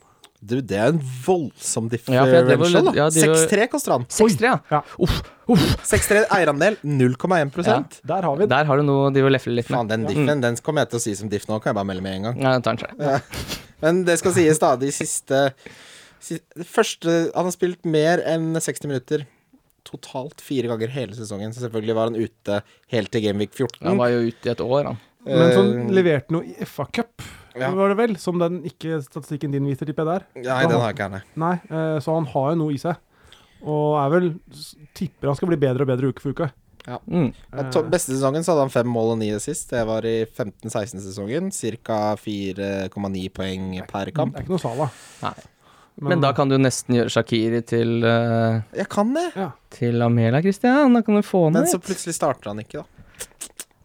A: Du, det er en voldsom
B: Ja, for jeg drev og-
A: differential, da.
B: ja, de var-
A: 6-3 koster han.
B: 6-3, ja.
C: Ja.
A: 6-3 eierandel, 0,1
C: Der har vi den.
B: Der har du noe de vil lefle litt med.
A: Faen, den diffen den kommer jeg til å si som diff nå, kan jeg bare melde med en gang.
B: Ja, ta en skjær.
A: Men det skal sies, da. De siste, siste Første Han har spilt mer enn 60 minutter totalt fire ganger hele sesongen. Så selvfølgelig var han ute helt til Gameweek 14.
B: Han var jo ute i et år, han.
C: Men som
A: Eh,
C: leverte noe i FA-cup,
A: Ja.
C: var det vel? Som den ikke statistikken din viser, tipper jeg der.
A: Nei, den har jeg ikke her, nei.
C: Nei, eh, så han har jo noe i seg. Og er vel s- Tipper han skal bli bedre og bedre uke for uke.
B: Mm.
A: Men to- Beste sesongen så hadde han fem mål og ni sist. Det var i 15-16-sesongen. Ca. 4,9 poeng per
C: Det
A: kamp.
C: er ikke noe Sala.
B: Nei. Men da kan du nesten gjøre Shakiri til, eh,
A: Jeg kan det!
C: ja.
B: til Lamela, Christian. Da kan du få
A: Men
B: ned
A: så plutselig starter han ikke, da.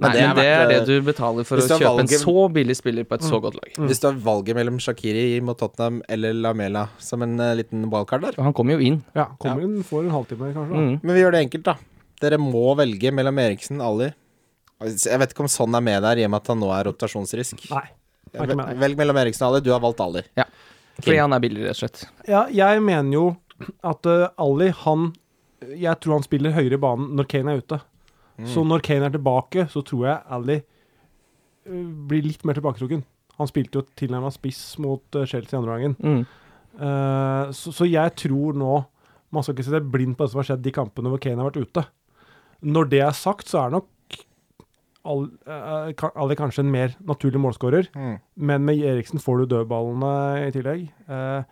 B: Nei,
A: Men det
B: men
A: er
B: det er det
A: verdt,
B: du Mm. betaler for å
A: hvis du
B: kjøpe
A: har valget-
B: en så billig spiller på et så godt lag.
A: Hvis du har valget mellom Shakiri mot Tottenham eller Lamela som en eh, liten wildcard der.
B: Og han kommer jo inn.
C: ja kommer inn, får en halvtime, kanskje. Da.
B: Mm.
A: Men vi gjør det enkelt, da. Dere må velge mellom Eriksen og Ali. Jeg vet ikke om sånn er med der, i og med at han nå er rotasjonsrisk.
C: Nei. er ikke med deg.
A: Velg mellom Eriksen og Ali. Du har valgt Ali.
B: Fordi han er billig, rett og slett.
C: Ja, jeg mener jo at eh, Ali, han Jeg tror han spiller høyere i banen når Kane er ute. Så når Kane er tilbake, så tror jeg Ali eh, blir litt mer tilbaketrukken. Han spilte jo tilnærma spiss mot eh, Chelsea andre gangen.
B: Mm.
C: Eh, så, så jeg tror nå Man skal ikke se seg blind på det som har skjedd de kampene hvor Kane har vært ute. Når det er sagt, så er nok Al- eh, Ka- Ali kanskje en mer naturlig målskårer. Men med Eriksen får du dødballene i tillegg. Eh,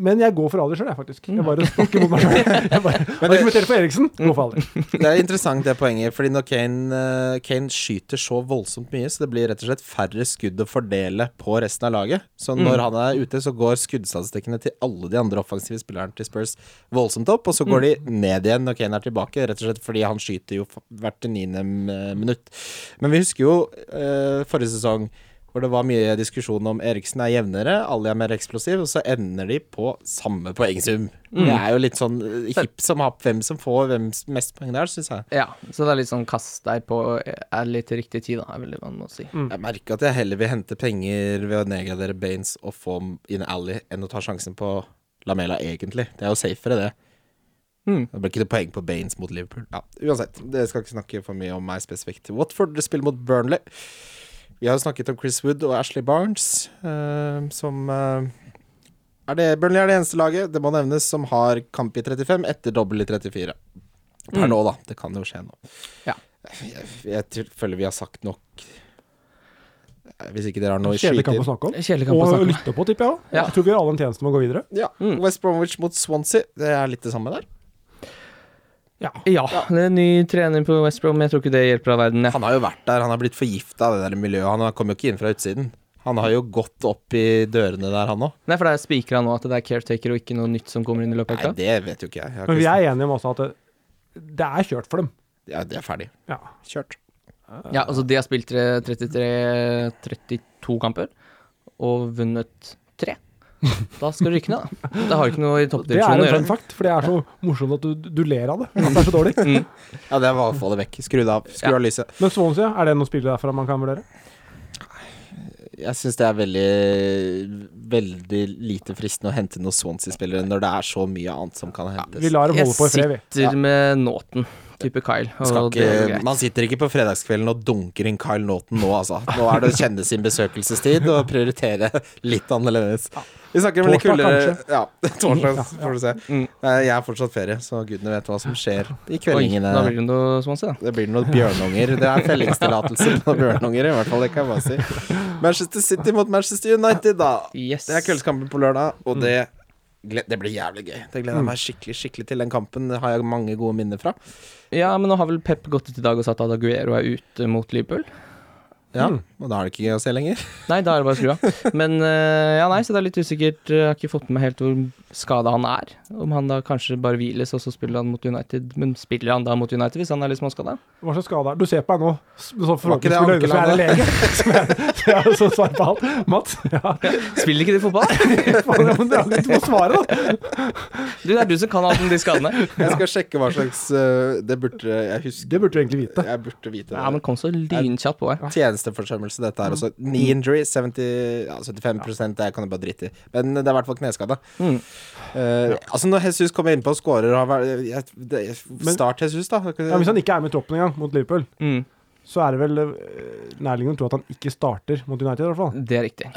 C: men jeg går for Ali sjøl, jeg, faktisk. Jeg bare snakker mot meg sjøl. Jeg bare argumenterer for Eriksen, går for Ali.
A: Det er interessant det poenget, fordi når Kane, eh, Kane skyter så voldsomt mye, så det blir rett og slett færre skudd å fordele på resten av laget. Så når han er ute, så går skuddstatistikkene til alle de andre offensive spillerne til Spurs voldsomt opp, og så går de ned igjen når Kane er tilbake, rett og slett fordi han skyter jo f- hvert niende eh, minutt. Men vi husker jo eh, forrige sesong hvor det var mye diskusjon om Eriksen er jevnere, Ali er mer eksplosiv, og så ender de på samme poengsum. Det er jo litt sånn eh, hipp som happ hvem som får hvem s- mest poeng der, syns jeg.
B: Ja, så det er litt sånn kast deg på er litt til riktig tid, da, er vel det man må si.
A: Jeg merker at jeg heller vil hente penger ved å nedgradere Baines og få m- in alley enn å ta sjansen på Lamela, egentlig. Det er jo safere, det.
B: Mm.
A: Det ble ikke noe poeng på Baines mot Liverpool. Ja, uansett, dere skal ikke snakke for mye om meg spesifikt. Watford spiller mot Burnley. Vi har jo snakket om Chris Wood og Ashley Barnes, eh, som eh, er det, Burnley er det eneste laget, det må nevnes, som har kamp i 35 etter dobbel i 34. Per
C: Mm.
A: nå, da. Det kan jo skje nå.
B: Ja.
A: Jeg, jeg tror- føler vi har sagt nok. Eh, Hvis ikke dere har noe å
C: Kjedelig
A: skyte
C: kamp å
A: inn.
C: snakke om.
B: Kjedelig kamp å
C: Og
B: snakke om.
C: lytte på, tipper jeg òg.
B: Ja.
C: Jeg tror vi har alle en tjeneste med å gå videre.
A: Ja. West Bromwich mot Swansea, det er litt det samme der.
C: Ja.
B: Ja, det er en ny trener på West Brom, men jeg tror ikke det hjelper av verden. Jeg.
A: Han har jo vært der, han har blitt forgifta av det der miljøet. Han kommer jo ikke inn fra utsiden. Han har jo gått opp i dørene der, han òg.
B: Nei, for det er spikra nå at det er caretaker og ikke noe nytt som kommer inn i løpet
A: Nei,
B: av uka.
A: det vet jo ikke jeg. jeg har
C: Men vi
A: ikke
C: er enige om også at det, det er kjørt for dem.
A: ja, det er ferdig.
C: Ja.
A: Kjørt.
B: Ja, altså de har spilt tre- 33 32 kamper og vunnet tre. Da skal du rykke ned, da. Det har jo ikke noe i
C: Det er
B: toppdivisjonen å
C: en fun
B: gjøre.
C: fact, for det er så morsomt at du, du ler av det. At det er så dårlig.
A: Ja, det var å få det vekk. Skru det av. Skru
B: Ja.
A: av lyset.
C: Men Swansea, er det noe spillere derfra man kan vurdere?
A: Jeg syns det er veldig Veldig lite fristende å hente noen Swansea-spillere når det er så mye annet som kan hentes.
C: Vi lar dem
B: Jeg
C: holde på i fred, vi.
B: sitter med Nåten, type Kyle.
A: Skal
B: Og det er
A: ikke,
B: greit.
A: man sitter ikke på fredagskvelden og dunker inn Kyle Naughton nå, altså. Nå er det å kjenne sin besøkelsestid og prioritere litt annerledes. Vi snakker om litt
C: Torsdag,
A: kulere Ja, [LAUGHS] torsdag
C: Ja,
A: får du se.
B: Mm.
A: Nei, Jeg er fortsatt ferie, så gudene vet hva som skjer i
B: Oi, da
A: kveldingene.
B: blir det noe Swansea, da.
A: Det blir noen bjørnunger. Det er fellingstillatelse på noen bjørnunger, i hvert fall. Det kan jeg bare si. Manchester City mot Manchester United, da.
B: Yes. Mm.
A: Det er kveldskampen på lørdag, og det, gle- det blir jævlig gøy. Det gleder jeg meg skikkelig skikkelig til. Den kampen har jeg mange gode minner fra.
B: Ja, men nå har vel Pep gått ut i dag og sagt at Aguero er ute mot Liverpool.
A: Ja,
B: Mm.
A: Og da er det ikke gøy å se lenger.
B: Nei, da er det bare å skru
A: [LAUGHS]
B: av. Men eh, ja, nei, så det er litt usikkert. Jeg har ikke fått med meg helt hvor skada han er. Om han da kanskje bare hviles, og så spiller han mot United. Men spiller han da mot United hvis han er litt småskada?
C: Hva slags skade er det? Du ser på meg nå, s-
A: ikke
C: så
A: det
C: forhåpentligvis med øyne som er en lege. Som er, som er så svar på alt. Mats, ja,
B: Spiller ikke de
A: [LAUGHS]
B: fotball?
C: [LAUGHS] faen, ja, men det er jo litt på svaret, da.
B: Du, det er du som kan alt om de
A: [LAUGHS]
B: skadene.
A: Jeg skal sjekke hva slags øh, Det burde jeg huske.
C: Det burde du egentlig vite.
A: Jeg burde vite
B: Ja, men
A: det.
B: kom så lynkjapt på her.
A: Tjenesteforsømmelse, dette her også.
C: Mm.
A: Knee injury, 70, ja, 75 det kan du bare drite i. Men det er i hvert fall kneskade.
B: Mm.
A: Eh, altså, når Jesus kommer innpå og scorer og har vært- jeg- det-
C: Men-
A: Start Jesus, da.
C: Ja, hvis han ikke er med i troppen engang mot Liverpool,
B: Mm,
C: så er det vel eh, nærliggende å tro at han ikke starter mot United, i hvert fall.
B: det er riktig.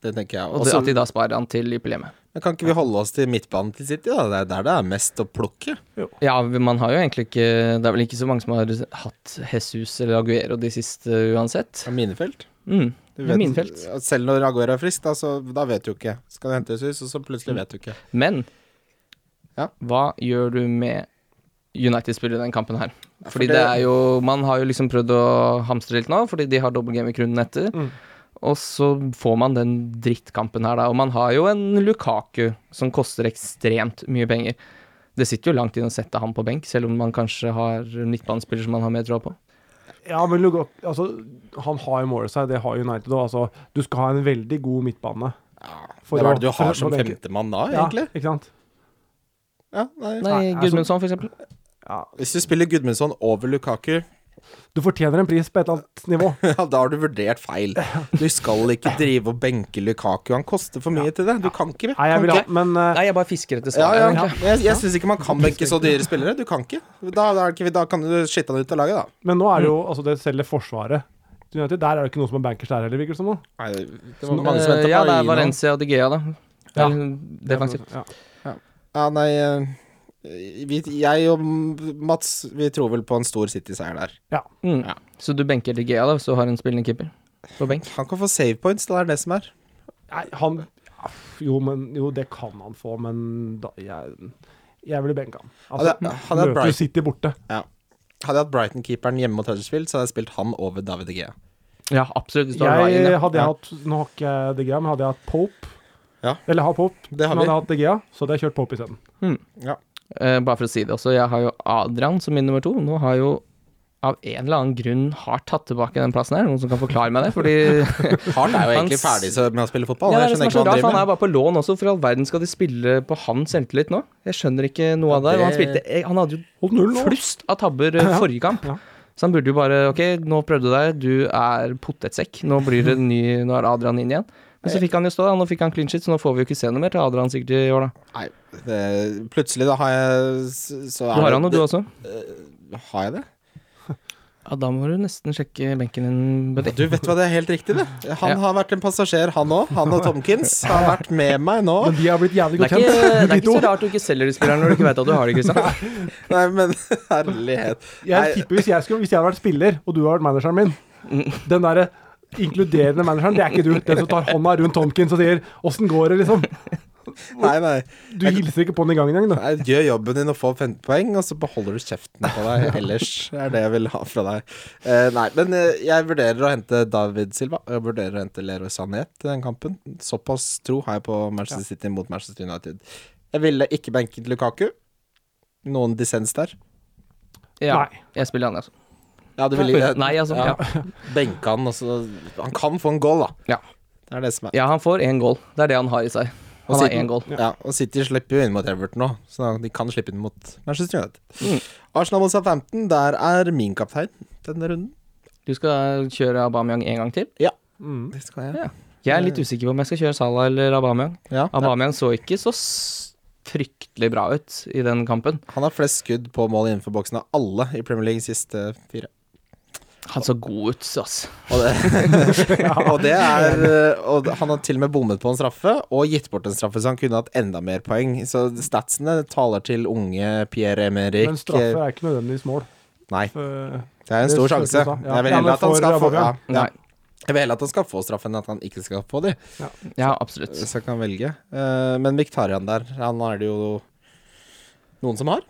A: Det tenker jeg.
B: Og det,
A: Også,
B: at de da sparer han til Liverpool hjemme.
A: men kan ikke vi holde oss til midtbanen til City, da? Det er der det er mest å plukke.
B: Ja, man har jo egentlig ikke Det er vel ikke så mange som har hatt Jesus eller Aguero de siste uansett.
A: Av minefelt.
B: Mm.
A: Du
B: Det er minefelt.
A: Selv når Aguero er frisk, da, så da vet du ikke. Skal du hente Jesus, og så
C: Mm.
A: plutselig vet du ikke.
B: Men
A: Ja.
B: hva gjør du med United-spillere i den kampen her?
A: for
B: Fordi det
A: det-
B: er jo Man har jo liksom prøvd å hamstre litt nå, fordi de har dobbel game i krunden etter.
C: Mm.
B: Og så får man den drittkampen her, da. Og man har jo en Lukaku som koster ekstremt mye penger. Det sitter jo langt inn å sette ham på benk, selv om man kanskje har en midtbanespiller som man har mer tråd på.
C: Ja, men Lugok, altså, han har jo målet seg, det har United òg. Altså, du skal ha en veldig god midtbane. For
A: Hva er det
C: å-
A: du har
C: for-
A: som
C: for å tenke-
A: femtemann da,
C: Ja,
A: egentlig?
C: ikke sant?
A: Ja, nei.
B: Nei,
C: Nei, altså-
B: Gudmundsson, for eksempel.
C: Ja,
A: Hvis du spiller Gudmundsson over Lukaku, [LAUGHS]
C: Du fortjener en pris på et eller annet nivå.
A: Ja, da har du vurdert feil. Du skal ikke drive og benke Lukaku. Han koster for mye til det. Du kan ikke.
C: Nei, jeg vil ha,
B: Ok.
C: men eh,
B: Nei, jeg bare fisker etter
A: Ja,
B: svar.
A: ja.
B: egentlig.
A: Jeg, jeg syns ikke man kan benke så dyre spillere. Du kan ikke. Da, da, er det ikke- da kan du skitte han ut av laget, da.
C: Men nå er det jo
A: Mm.
C: altså det selger Forsvaret. United, der er det ikke noen som er bankers der heller, virker det som. nå.
A: Nei, det var
B: Eh,
A: mange som ventet
B: ja,
A: på
B: det er
A: Aino.
B: Valencia og De Gea, da.
C: Ja.
B: Eller Defensivt.
C: Ja.
A: Ja, nei eh, vi, Jeg og Mats, vi tror vel på en stor City-seier der.
B: Mm.
A: Ja.
B: Så du benker De Gea, da, hvis du har en spillende keeper på benk?
A: Han kan få save points, det er det som er.
C: Nei, han Jo, men Jo, det kan han få, men da Jeg, jeg ville benka han. Altså,
A: Hadde- hadde jeg
C: møter
A: Bright-
C: du City borte.
A: Hadde jeg hatt Brighton-keeperen hjemme mot Huddersfield, så hadde jeg spilt han over David De Gea.
B: Ja, absolutt. Hvis du har Ryan,
C: Jeg,
B: ja.
C: hadde jeg
A: Ja.
C: hatt Nå har ikke jeg De Gea, men hadde jeg hatt Pope
A: Ja.
C: Eller har Pope,
A: Det har vi.
C: men hadde jeg hatt De Gea, så hadde jeg kjørt Pope isteden.
B: Eh, bare for å si det også, jeg har jo Adrian som min nummer to. Nå har jo av en eller annen grunn har tatt tilbake den plassen her. Noen som kan forklare meg det? Fordi
A: Hart er
B: [LAUGHS]
A: jo
B: Han
A: egentlig
B: s-
A: ferdig så- med å spille fotball.
B: ja, det er
A: jeg
B: det som
A: skjønner
B: er så
A: ikke hva han driver
B: rart, for han
A: med.
B: er bare på lån også. For i all verden skal de spille på hans selvtillit nå? Jeg skjønner ikke noe av det. her, Og han spilte eh, Han hadde jo
C: Holdt null nå.
B: flust av tabber eh,
C: Ja.
B: forrige kamp.
C: Ja.
B: Så han burde jo bare Ok, nå prøvde du deg, du er potetsekk. Nå blir det en ny Nå er Adrian inn igjen. Men så fikk han jo stå, da. Nå fikk han clean shit, så nå får vi jo ikke se noe mer til Adrian sikkert i år, da.
A: Nei, det, plutselig da har jeg s- så er
B: Du har
A: det-
B: han jo, du også.
A: det- Har jeg det?
B: Ja, da må du nesten sjekke benken din, Bendik.
A: Du vet hva det er helt riktig, det. Han
B: Ja.
A: har vært en passasjer, han òg. Han og Tomkins har vært med meg nå.
C: Men de har blitt jævlig
B: Det
C: godt
B: er, ikke,
C: [LAUGHS] kjent,
B: det er
C: de
B: ikke
C: to.
B: så rart du ikke selger de spillerne når du ikke vet at du har de, Kristian.
A: Nei, men [LAUGHS] herlighet.
C: Jeg tipper hvis jeg, skulle, hvis jeg hadde vært spiller, og du hadde vært manageren min
A: Mm.
C: Den derre inkluderende manageren, det er ikke du. Den som tar hånda rundt Tomkins og sier 'åssen går det', liksom.
A: Nei, nei.
C: Du hilser ikke på den i gangen engang, du.
A: nei gjør jobben din og få 15 poeng, og så beholder du kjeften på deg ellers. Det er det jeg vil ha fra deg. Eh, nei, men eh, jeg vurderer å hente David Silva. og Jeg vurderer å hente Leroy Sané til den kampen. Såpass tro har jeg på Manchester City mot Manchester United. Jeg ville ikke benket Lukaku. Noen dissens der.
B: Ja,
C: Nei.
B: jeg spiller han, altså.
A: Ja, du ville
B: Nei, altså. Ja.
A: benke han, og så Han kan få en goal, da.
B: Ja.
A: Det er det som er.
B: ja, han får én goal. Det er det han har i seg.
A: Og
B: Han har
A: siden-
B: én goal.
A: Ja, og City slipper jo inn mot Everton nå, så de kan slippe inn mot Manchester United.
B: Mm.
A: Arsenal mot Southampton, der er min kaptein denne runden.
B: Du skal kjøre Aubameyang en gang til?
C: Mm.
A: Det skal jeg.
B: Ja. Jeg er litt usikker på om jeg skal kjøre Salah eller Aubameyang.
A: Ja.
B: Aubameyang så ikke så s- fryktelig bra ut i den kampen.
A: Han har flest skudd på mål innenfor boksen av alle i Premier League siste fire.
B: Han så god ut, ass.
A: Og det,
B: [LAUGHS]
A: og det er eh, Og det- han har til og med bommet på en straffe, og gitt bort en straffe, så han kunne hatt enda mer poeng. Så statsene taler til unge Pierre Emerick.
C: Men straffer er ikke nødvendigvis mål.
A: Nei, det
C: For-
A: er en
C: Det
A: stor
C: skal
A: sjanse.
C: du ta, ja.
A: Jeg vil
C: Ja,
A: heller
C: men
A: at han
C: for
A: skal få ja,
C: Aubameyang?
A: ja.
B: Nei.
A: Jeg vil heller at han skal få straffen enn at han ikke skal få de.
B: Ja, absolutt.
A: Så jeg kan velge. Eh, men Viktarian der, han er det jo noen som har.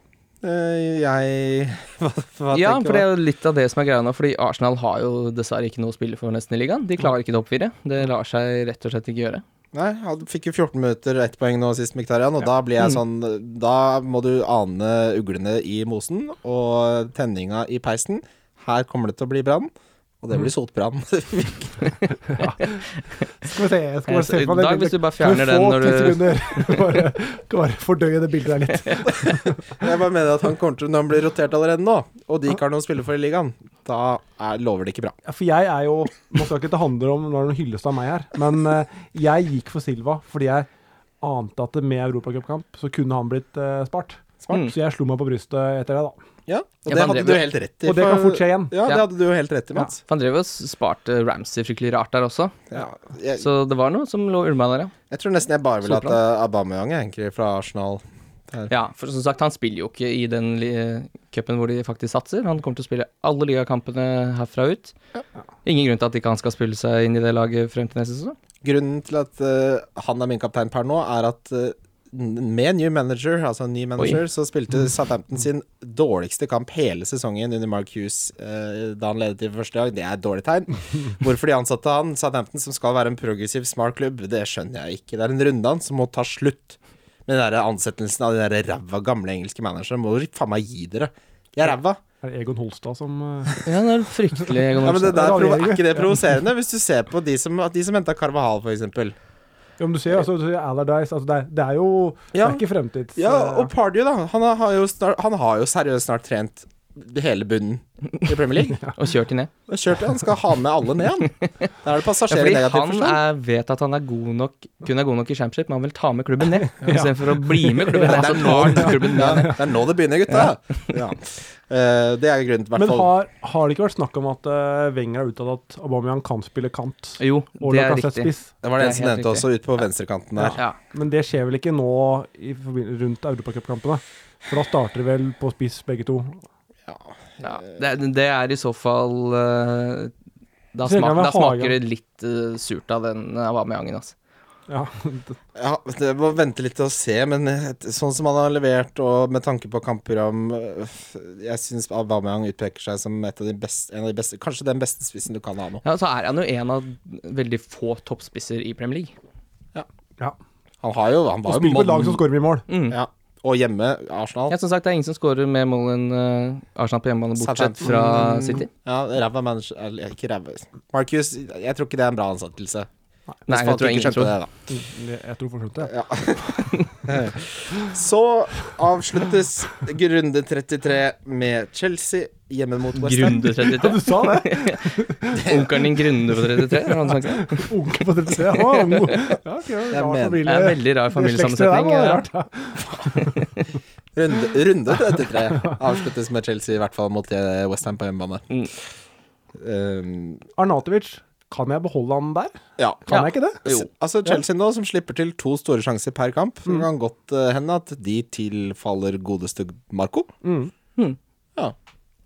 A: Eh, jeg [LAUGHS] Hva, hva
B: Ja,
A: tenker
B: for det
A: du?
B: er jo litt av det som er greia nå, fordi Arsenal har jo dessverre ikke noe å spille for nesten i ligaen. De klarer ikke topp fire. Det lar seg rett og slett ikke gjøre.
A: Nei, han fikk jo 14 minutter, ett poeng nå sist, Viktarian, og da blir
B: Mm.
A: jeg sånn Da må du ane uglene i mosen og tenninga i peisen. Her kommer det til å bli brann. Og det
B: Mm.
A: blir sotbrann. [LAUGHS]
C: Skal vi se, jeg skal bare se på det.
B: Dag, hvis du bare
C: Kan vi
B: fjerner den
C: få
B: når
C: 10
B: du
C: sekunder? [LAUGHS] bare, bare fordøye det bildet der litt.
B: [LAUGHS]
A: jeg bare mener at han kommer til Når han blir rotert allerede nå, og de ikke har noen spillere for i ligaen, da er, lover det ikke bra.
C: Ja, For jeg er jo Nå skal ikke det handle om når det hylles av meg her, men eh, jeg gikk for Silva fordi jeg ante at med europacupkamp så kunne han blitt eh, spart.
B: Smart.
C: Så jeg slo meg på brystet etter det, da.
A: Ja, og
B: Ja,
A: det
B: for han
A: hadde
B: drev
A: du
B: jo-
A: helt rett i.
C: Og det
A: for-
C: kan fort skje igjen.
A: Ja, det
B: Ja.
A: hadde du jo helt rett i, Mats.
B: Han drev og sparte Ramsey fryktelig rart der også,
A: Ja. Jeg,
B: så det var noe som lå ulma der, ja.
A: jeg tror nesten jeg bare vil at
B: Solbrand.
A: eh, Aubameyang er egentlig fra Arsenal.
B: ja. For som sagt, han spiller jo ikke i den li- cupen hvor de faktisk satser. Han kommer til å spille alle ligakampene herfra ut. Ingen grunn til at ikke han skal spille seg inn i det laget frem til neste sesong.
A: Grunnen til at eh, han er min kaptein per nå, er at eh, n- med new manager, altså en ny manager, så spilte Southampton sin dårligste kamp hele sesongen under Mark Hughes eh, da han ledet i første dag. Det er et dårlig tegn. Hvorfor de ansatte han, Southampton, som skal være en progressiv, smart klubb, det skjønner jeg ikke. Det er en runddans som må ta slutt. Med den der ansettelsen av de der ræva gamle engelske managerne må dere faen meg gi dere. De er ræva.
C: Er det Egon Holstad som eh,
B: Ja, det er fryktelig
A: Ja, men det der,
C: Det er
A: provo-
C: raljering,
A: er ikke det
C: ja.
A: provoserende? Hvis du ser på de som, at de som henta Carvahal, for eksempel.
C: Ja, men du ser jo altså, du ser Allardyce altså, det, er, det er jo Det
A: Ja.
C: er ikke fremtids...
A: Ja,
C: eh,
A: og Pardew, da. Han har jo, snart, han har jo seriøst snart trent hele bunnen i Premier League.
B: Og kjørt de ned.
A: Og kjørt, han skal ha med alle ned, han. Da er det
B: Ja,
A: passasjerer i
B: fordi
A: negativ
B: han
A: forstand.
B: er, vet at han er god nok, kun er god nok i championship, men han vil ta med klubben
A: [LAUGHS]
B: ned. Istedenfor å bli med klubben ned,
A: Det
B: så
A: er
B: tar han klubben
A: Ja,
B: ned.
A: det er nå det begynner, gutta. Ja. Eh, det er grunnen til hvert
C: Men
A: fall.
C: har, har det ikke vært snakk om at eh, Wenger har uttalt at Aubameyang kan spille kant?
B: Jo,
C: Og
B: det er
C: Lacazette
B: riktig.
C: spiss.
A: Det var det
B: det er
A: en som
B: helt
A: nevnte også, ut på venstrekanten der.
B: Ja.
C: Men det skjer vel ikke nå i forbi- rundt europacupkampene? For da starter de vel på spiss, begge to.
B: Ja, det, er- det er i så fall eh, da,
C: Så kan
B: smak,
C: vi
B: da
C: ha
B: smaker det litt eh, surt av den eh, Aubameyangen, altså.
C: Ja,
A: Ja, det må vente litt til å se, men et- sånn som han har levert, og med tanke på kampprogram øh, Jeg syns Aubameyang utpeker seg som et av de beste, en av de beste Kanskje den beste spissen du kan ha nå.
B: Ja, så er han jo en av veldig få toppspisser i Premier League.
C: ja.
A: Han har jo Han
C: Og
A: var jo
C: spiller på et lag som
A: mann.
C: skårer mye mål.
B: Mm.
A: Ja. Og hjemme, Arsenal.
B: Ja, som sagt, det er ingen som scorer mer mål enn eh, Arsenal på hjemmebane, bortsett
A: Southampton.
B: fra City.
A: Mm. Ja, ræva manager eller, Ikke ræva Marcus, jeg tror ikke det er en bra ansettelse.
B: Nei,
A: Hvis
B: jeg
A: folk
B: tror
A: ikke
B: ingen
A: skjønte
B: tror
A: det, da.
C: Mm. Jeg tror fortsatt det.
A: Ja. Så avsluttes runde 33 med Chelsea hjemme mot West Ham.
B: Grunde
A: [LAUGHS]
C: Ja,
B: 33.
C: du sa det! [LAUGHS]
B: Onkelen din Grunde på 33? Eller noe sånt.
C: Unge på 33. Han var ung. [LAUGHS] Ja, ok,
A: Jeg mener-
B: Det
C: rar
B: er en
C: familie.
B: veldig rar
C: Det slektet der
B: familiesammensetning.
C: var
B: ja.
C: rart, ja.
A: Runde, runde 33 avsluttes med Chelsea, i hvert fall mot eh, West Ham på hjemmebane.
B: Mm.
A: Um,
C: Arnatovic, kan jeg beholde han der?
A: ja.
C: Kan
B: Ja.
C: jeg ikke det?
A: S- Altså Chelsea nå, som slipper til to store sjanser per kamp,
B: Mm.
A: Det kan godt eh, hende at de tilfaller godeste Marco.
C: Mm.
B: Mm.
A: Ja.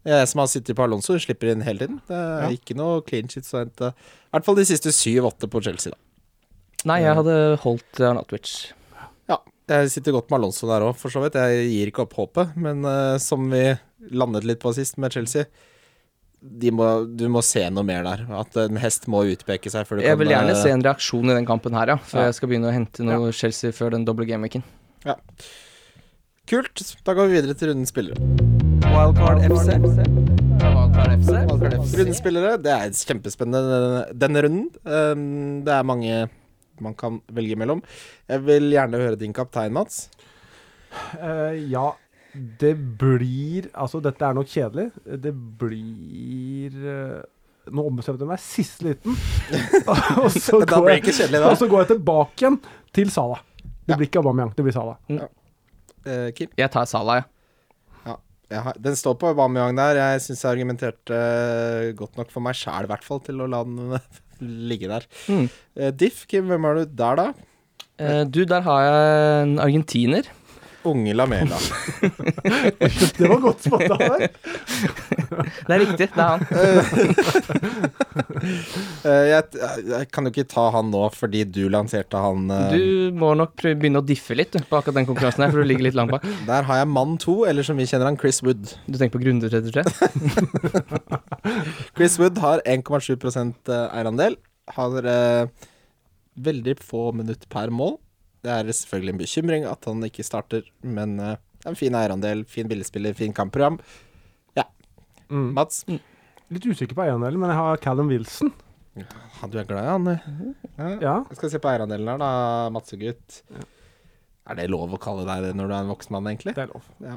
A: Jeg som har sittet på Alonso, slipper inn hele tiden. Det er ikke noe clean shit å hente. I hvert fall de siste syv-åtte på Chelsea, da.
B: Nei, jeg hadde holdt eh, Arnatovic.
A: Ja, jeg sitter godt med Alonso der òg, for så vidt. Jeg gir ikke opp håpet, men eh, som vi landet litt på sist med Chelsea de må, Du må se noe mer der. At en hest må utpeke seg før du
B: Jeg
A: kan
B: vil gjerne
A: eh,
B: se en reaksjon i den kampen her, ja. Før
A: Ja.
B: jeg skal begynne å hente noe Chelsea før den doble gameweeken.
A: ja. Kult. Da går vi videre til rundens spillere.
B: Wildcard FC. Wildcard FC.
A: Rundens spillere, det er kjempespennende denne- denne runden. Um, det er mange man kan velge mellom. Jeg vil gjerne høre din kaptein, Mats.
C: Eh, ja, det blir Altså, dette er nok kjedelig. Det blir eh, Nå ombestemte jeg meg siste liten. [LAUGHS] og, så
A: Da
C: går
A: blir det
C: jeg,
A: ikke kjedelig,
B: [LAUGHS]
C: og
B: Altså-
A: da.
C: så går jeg tilbake igjen til Salah. Det
A: Ja.
C: blir ikke Aubameyang, det blir Salah.
A: Eh, Kim?
B: Jeg tar Salah, jeg.
A: Jeg har, den står på Aubameyang der. Jeg syns jeg argumenterte eh, godt nok for meg sjæl, i hvert fall, til å la den [LAUGHS] ligge der.
B: Mm.
A: Eh, Diff, Kim, hvem er du der, da?
B: Eh, Du, der har jeg en argentiner.
A: Unge Lamela.
C: Det var godt spotta der.
B: Det er riktig, det er han.
A: [LAUGHS] Eh, jeg, jeg kan jo ikke ta han nå, fordi du lanserte han. eh,
B: Du må nok prøve, begynne å diffe litt du, på akkurat den konkurransen her, for du ligger litt langt bak.
A: Der har jeg mann to, eller som vi kjenner han, Chris Wood.
B: Du tenker på Grunde
A: [LAUGHS]
B: 33?
A: Chris Wood har 1,7 eh, eierandel. Har eh, veldig få minutt per mål. Det er selvfølgelig en bekymring at han ikke starter, men eh, det er en fin eierandel, fin billigspiller, fin kampprogram. Ja.
C: Mm.
A: Mats?
C: Litt usikker på eiendelen, men jeg har Callum Wilson.
A: Ja, du er glad i han, du. Ja.
C: Ja.
A: Jeg skal se på eierandelen her, da, Matsegutt. Er det lov å kalle deg det når du er en voksen mann, egentlig?
C: Det er lov.
A: Ja.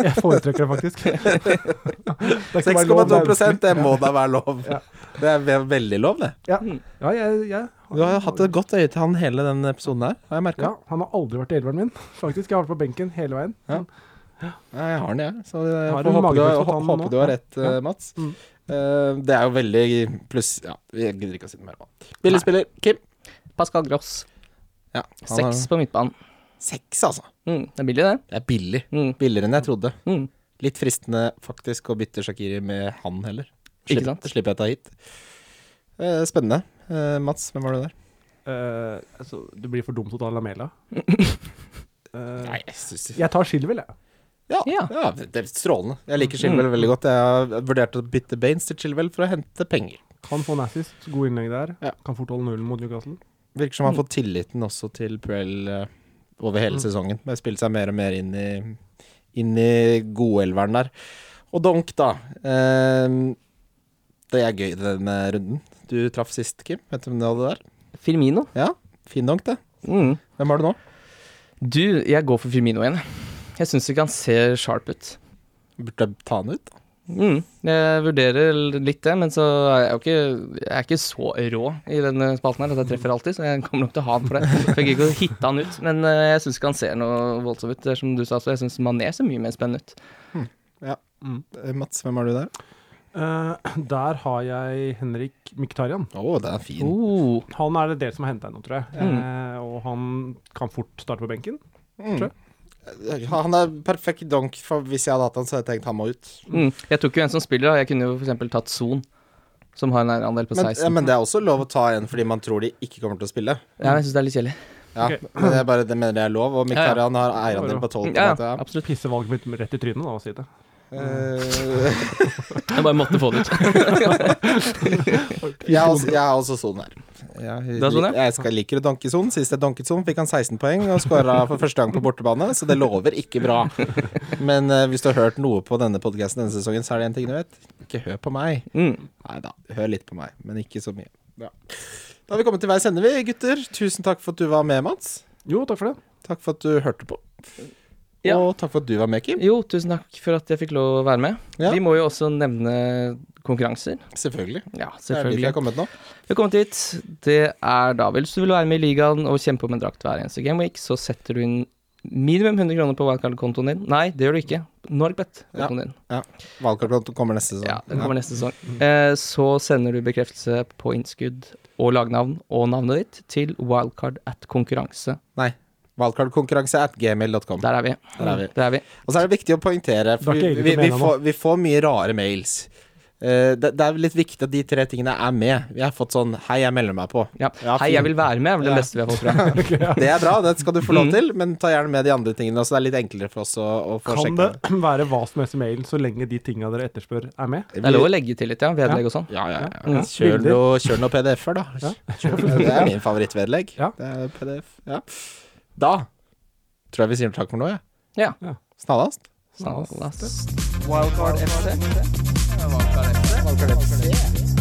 C: Jeg foretrekker det
A: [LAUGHS]
C: faktisk. Det er ikke bare lov, det er
A: 6,2 [LAUGHS] det må da være lov.
C: Ja.
A: Det er ve- veldig lov, det.
C: ønskelig. Ja, jeg, jeg,
A: Du har hatt et godt øye til han hele den episoden her, har jeg merka.
C: ja, han har aldri vært i elveren min, faktisk. Jeg har vært på benken hele veien. Mm.
A: Ja. Ja, jeg har den, jeg. Så jeg
C: Har
A: får
C: du
A: håpe du,
C: magefølelse på
A: hå-
C: tannen
A: håper
C: nå?
A: du har rett,
C: Ja.
A: eh, Mats.
C: Mm.
A: Eh, det er jo veldig pluss Ja, jeg gidder ikke å si noe mer om han. Billigspiller Kim.
B: Pascal Gross.
A: Ja, han har-
B: Seks på midtbanen.
A: Seks, altså.
B: Mm, det er billig, det.
A: Det er billig.
B: Mm,
A: Billigere enn jeg trodde.
B: mm.
A: Litt fristende faktisk å bytte Shakiri med han heller.
B: Ikke
A: Slipp-
B: sant?
A: Slipper jeg ta hit. Eh, spennende. Eh, Mats, hvem var du der?
C: Eh, altså, det blir for dumt å ta [LAUGHS] Lamela. Eh,
A: jeg syns
C: jeg tar Shilwell, jeg.
A: ja, ja.
B: Ja. Mm.
A: det det er strålende. Jeg liker Chilwell veldig godt. Jeg har vurdert å bytte Baines til Chilwell for å hente penger.
C: Kan få en assist. Gode innlegg der.
A: Ja.
C: Kan fort holde nullen mot Newcastle.
A: Virker som han
B: Mm.
A: har fått tilliten også til Puel eh, over hele
C: Mm.
A: sesongen. Men spilt seg mer og mer inn i, inn i godelveren der. Og Donk, da. Eh, det er gøy, denne runden. Du traff sist, Kim. Vet du hvem du hadde der?
B: Firmino.
A: Ja, fin donk, det.
B: Mm.
A: Hvem har du nå?
B: Du, jeg går for Firmino igjen. Jeg syns ikke han ser sharp ut.
A: Burde jeg ta han ut?
B: Mm, jeg vurderer litt det, men så er jeg jo ikke, jeg er ikke så rå i denne spalten her at jeg treffer alltid, så jeg kommer nok til å ha han for det. For jeg gidder ikke å hitte han ut, men eh, jeg syns ikke han ser noe voldsomt ut. Det er Som du sa, så jeg syns Mané ser mye mer spennende ut.
A: Eh, Mats, hvem har du der?
C: Eh, [CLEARS THROAT] der har jeg Henrik Miktarian.
A: Å, det er fin.
B: Oh,
C: Han er det dere som har henta inn nå, tror jeg. Eh, og han kan fort starte på benken.
A: Mm. Han er perfekt donk, for hvis jeg hadde hatt han, så hadde jeg tenkt han må ut.
B: mm. Jeg tok jo en som spiller, da. Jeg kunne jo f.eks. tatt Son, som har en eierandel på
A: Men,
B: 16.
A: ja, men det er også lov å ta en fordi man tror de ikke kommer til å spille.
B: Ja, jeg syns det er litt kjedelig.
A: Ja,
C: Ok.
A: men jeg bare, det mener jeg er lov, og Miktarian har
C: Ja,
A: eierandel
C: ja.
A: på 12. på en
B: Ja,
A: måte,
B: [LAUGHS]
A: ja.
B: absolutt.
C: Pisse valget mitt rett i trynet, da, å si det.
A: Eh,
B: Jeg bare måtte få det ut.
A: jeg, har også, jeg har også sonen her. Jeg,
B: Du har Son, ja?
A: jeg skal liker å donke sonen. Sist jeg donket sonen, fikk han 16 poeng og skåra for første gang på bortebane, så det lover ikke bra. Men eh, hvis du har hørt noe på denne podkasten denne sesongen, så er det én ting du vet. Ikke hør på meg.
B: Mm.
A: Nei da, hør litt på meg, men ikke så mye. Ja. Da har vi kommet til veis ende, vi, gutter. Tusen takk for at du var med, Mats.
C: Jo, takk for det.
A: Takk for at du hørte på.
B: Ja.
A: Og takk for at du var med, Kim.
B: Jo, tusen takk for at jeg fikk lov å være med.
A: Ja.
B: Vi må jo også nevne konkurranser.
A: Selvfølgelig. Det er
B: Ja,
A: dit vi
B: selvfølgelig.
A: har kommet nå.
B: Velkommen dit. Det er da vel, hvis du vil være med i ligaen og kjempe om en drakt hver eneste gameweek, så setter du inn minimum 100 kroner på wildcard-kontoen din. Nei, det gjør du ikke. Norgbet-kontoen din.
A: Valgkartet kommer neste sesong.
B: Ja, den kommer neste sesong.
A: Mm.
B: Eh, så sender du bekreftelse på innskudd og lagnavn og navnet ditt til wildcard at konkurranse.
A: Nei. Valgkartkonkurranse at gmail.com.
B: Der er vi.
A: Der er vi.
B: Der er vi.
A: Og så er det viktig å poengtere, for
C: Det
A: vi,
C: er ikke eget
A: vi, vi,
C: domene nå.
A: får, vi får mye rare mails. Eh, det, det er litt viktig at de tre tingene er med. Vi har fått sånn 'hei, jeg melder meg på'.
B: Ja.
A: Ja,
B: Hei,
A: fin.
B: jeg vil være med, er vel det
A: Ja.
B: beste vi har fått fra.
A: Det er bra, det skal du få
B: Mm.
A: lov til, men ta gjerne med de andre tingene også. Det er litt enklere for oss å, å få
C: Kan
A: sjekka.
C: det [CLEARS THROAT] være hva som helst i mailen, så lenge de tinga dere etterspør, er med?
B: Det er lov å legge til litt, ja. Vedlegg og sånn.
A: Ja, ja, ja.
C: Ja.
A: Mm. Kjør
C: Bilder.
A: noe, kjør noe PDF-er, da.
C: Ja.
A: Kjør, det er min favorittvedlegg.
C: Ja.
A: Det er PDF. Ja. Da tror jeg vi sier takk for nå, jeg.
B: Ja.
C: Ja.
A: Snarest.
B: Snarest.
A: Wildcard FC. Wildcard FC.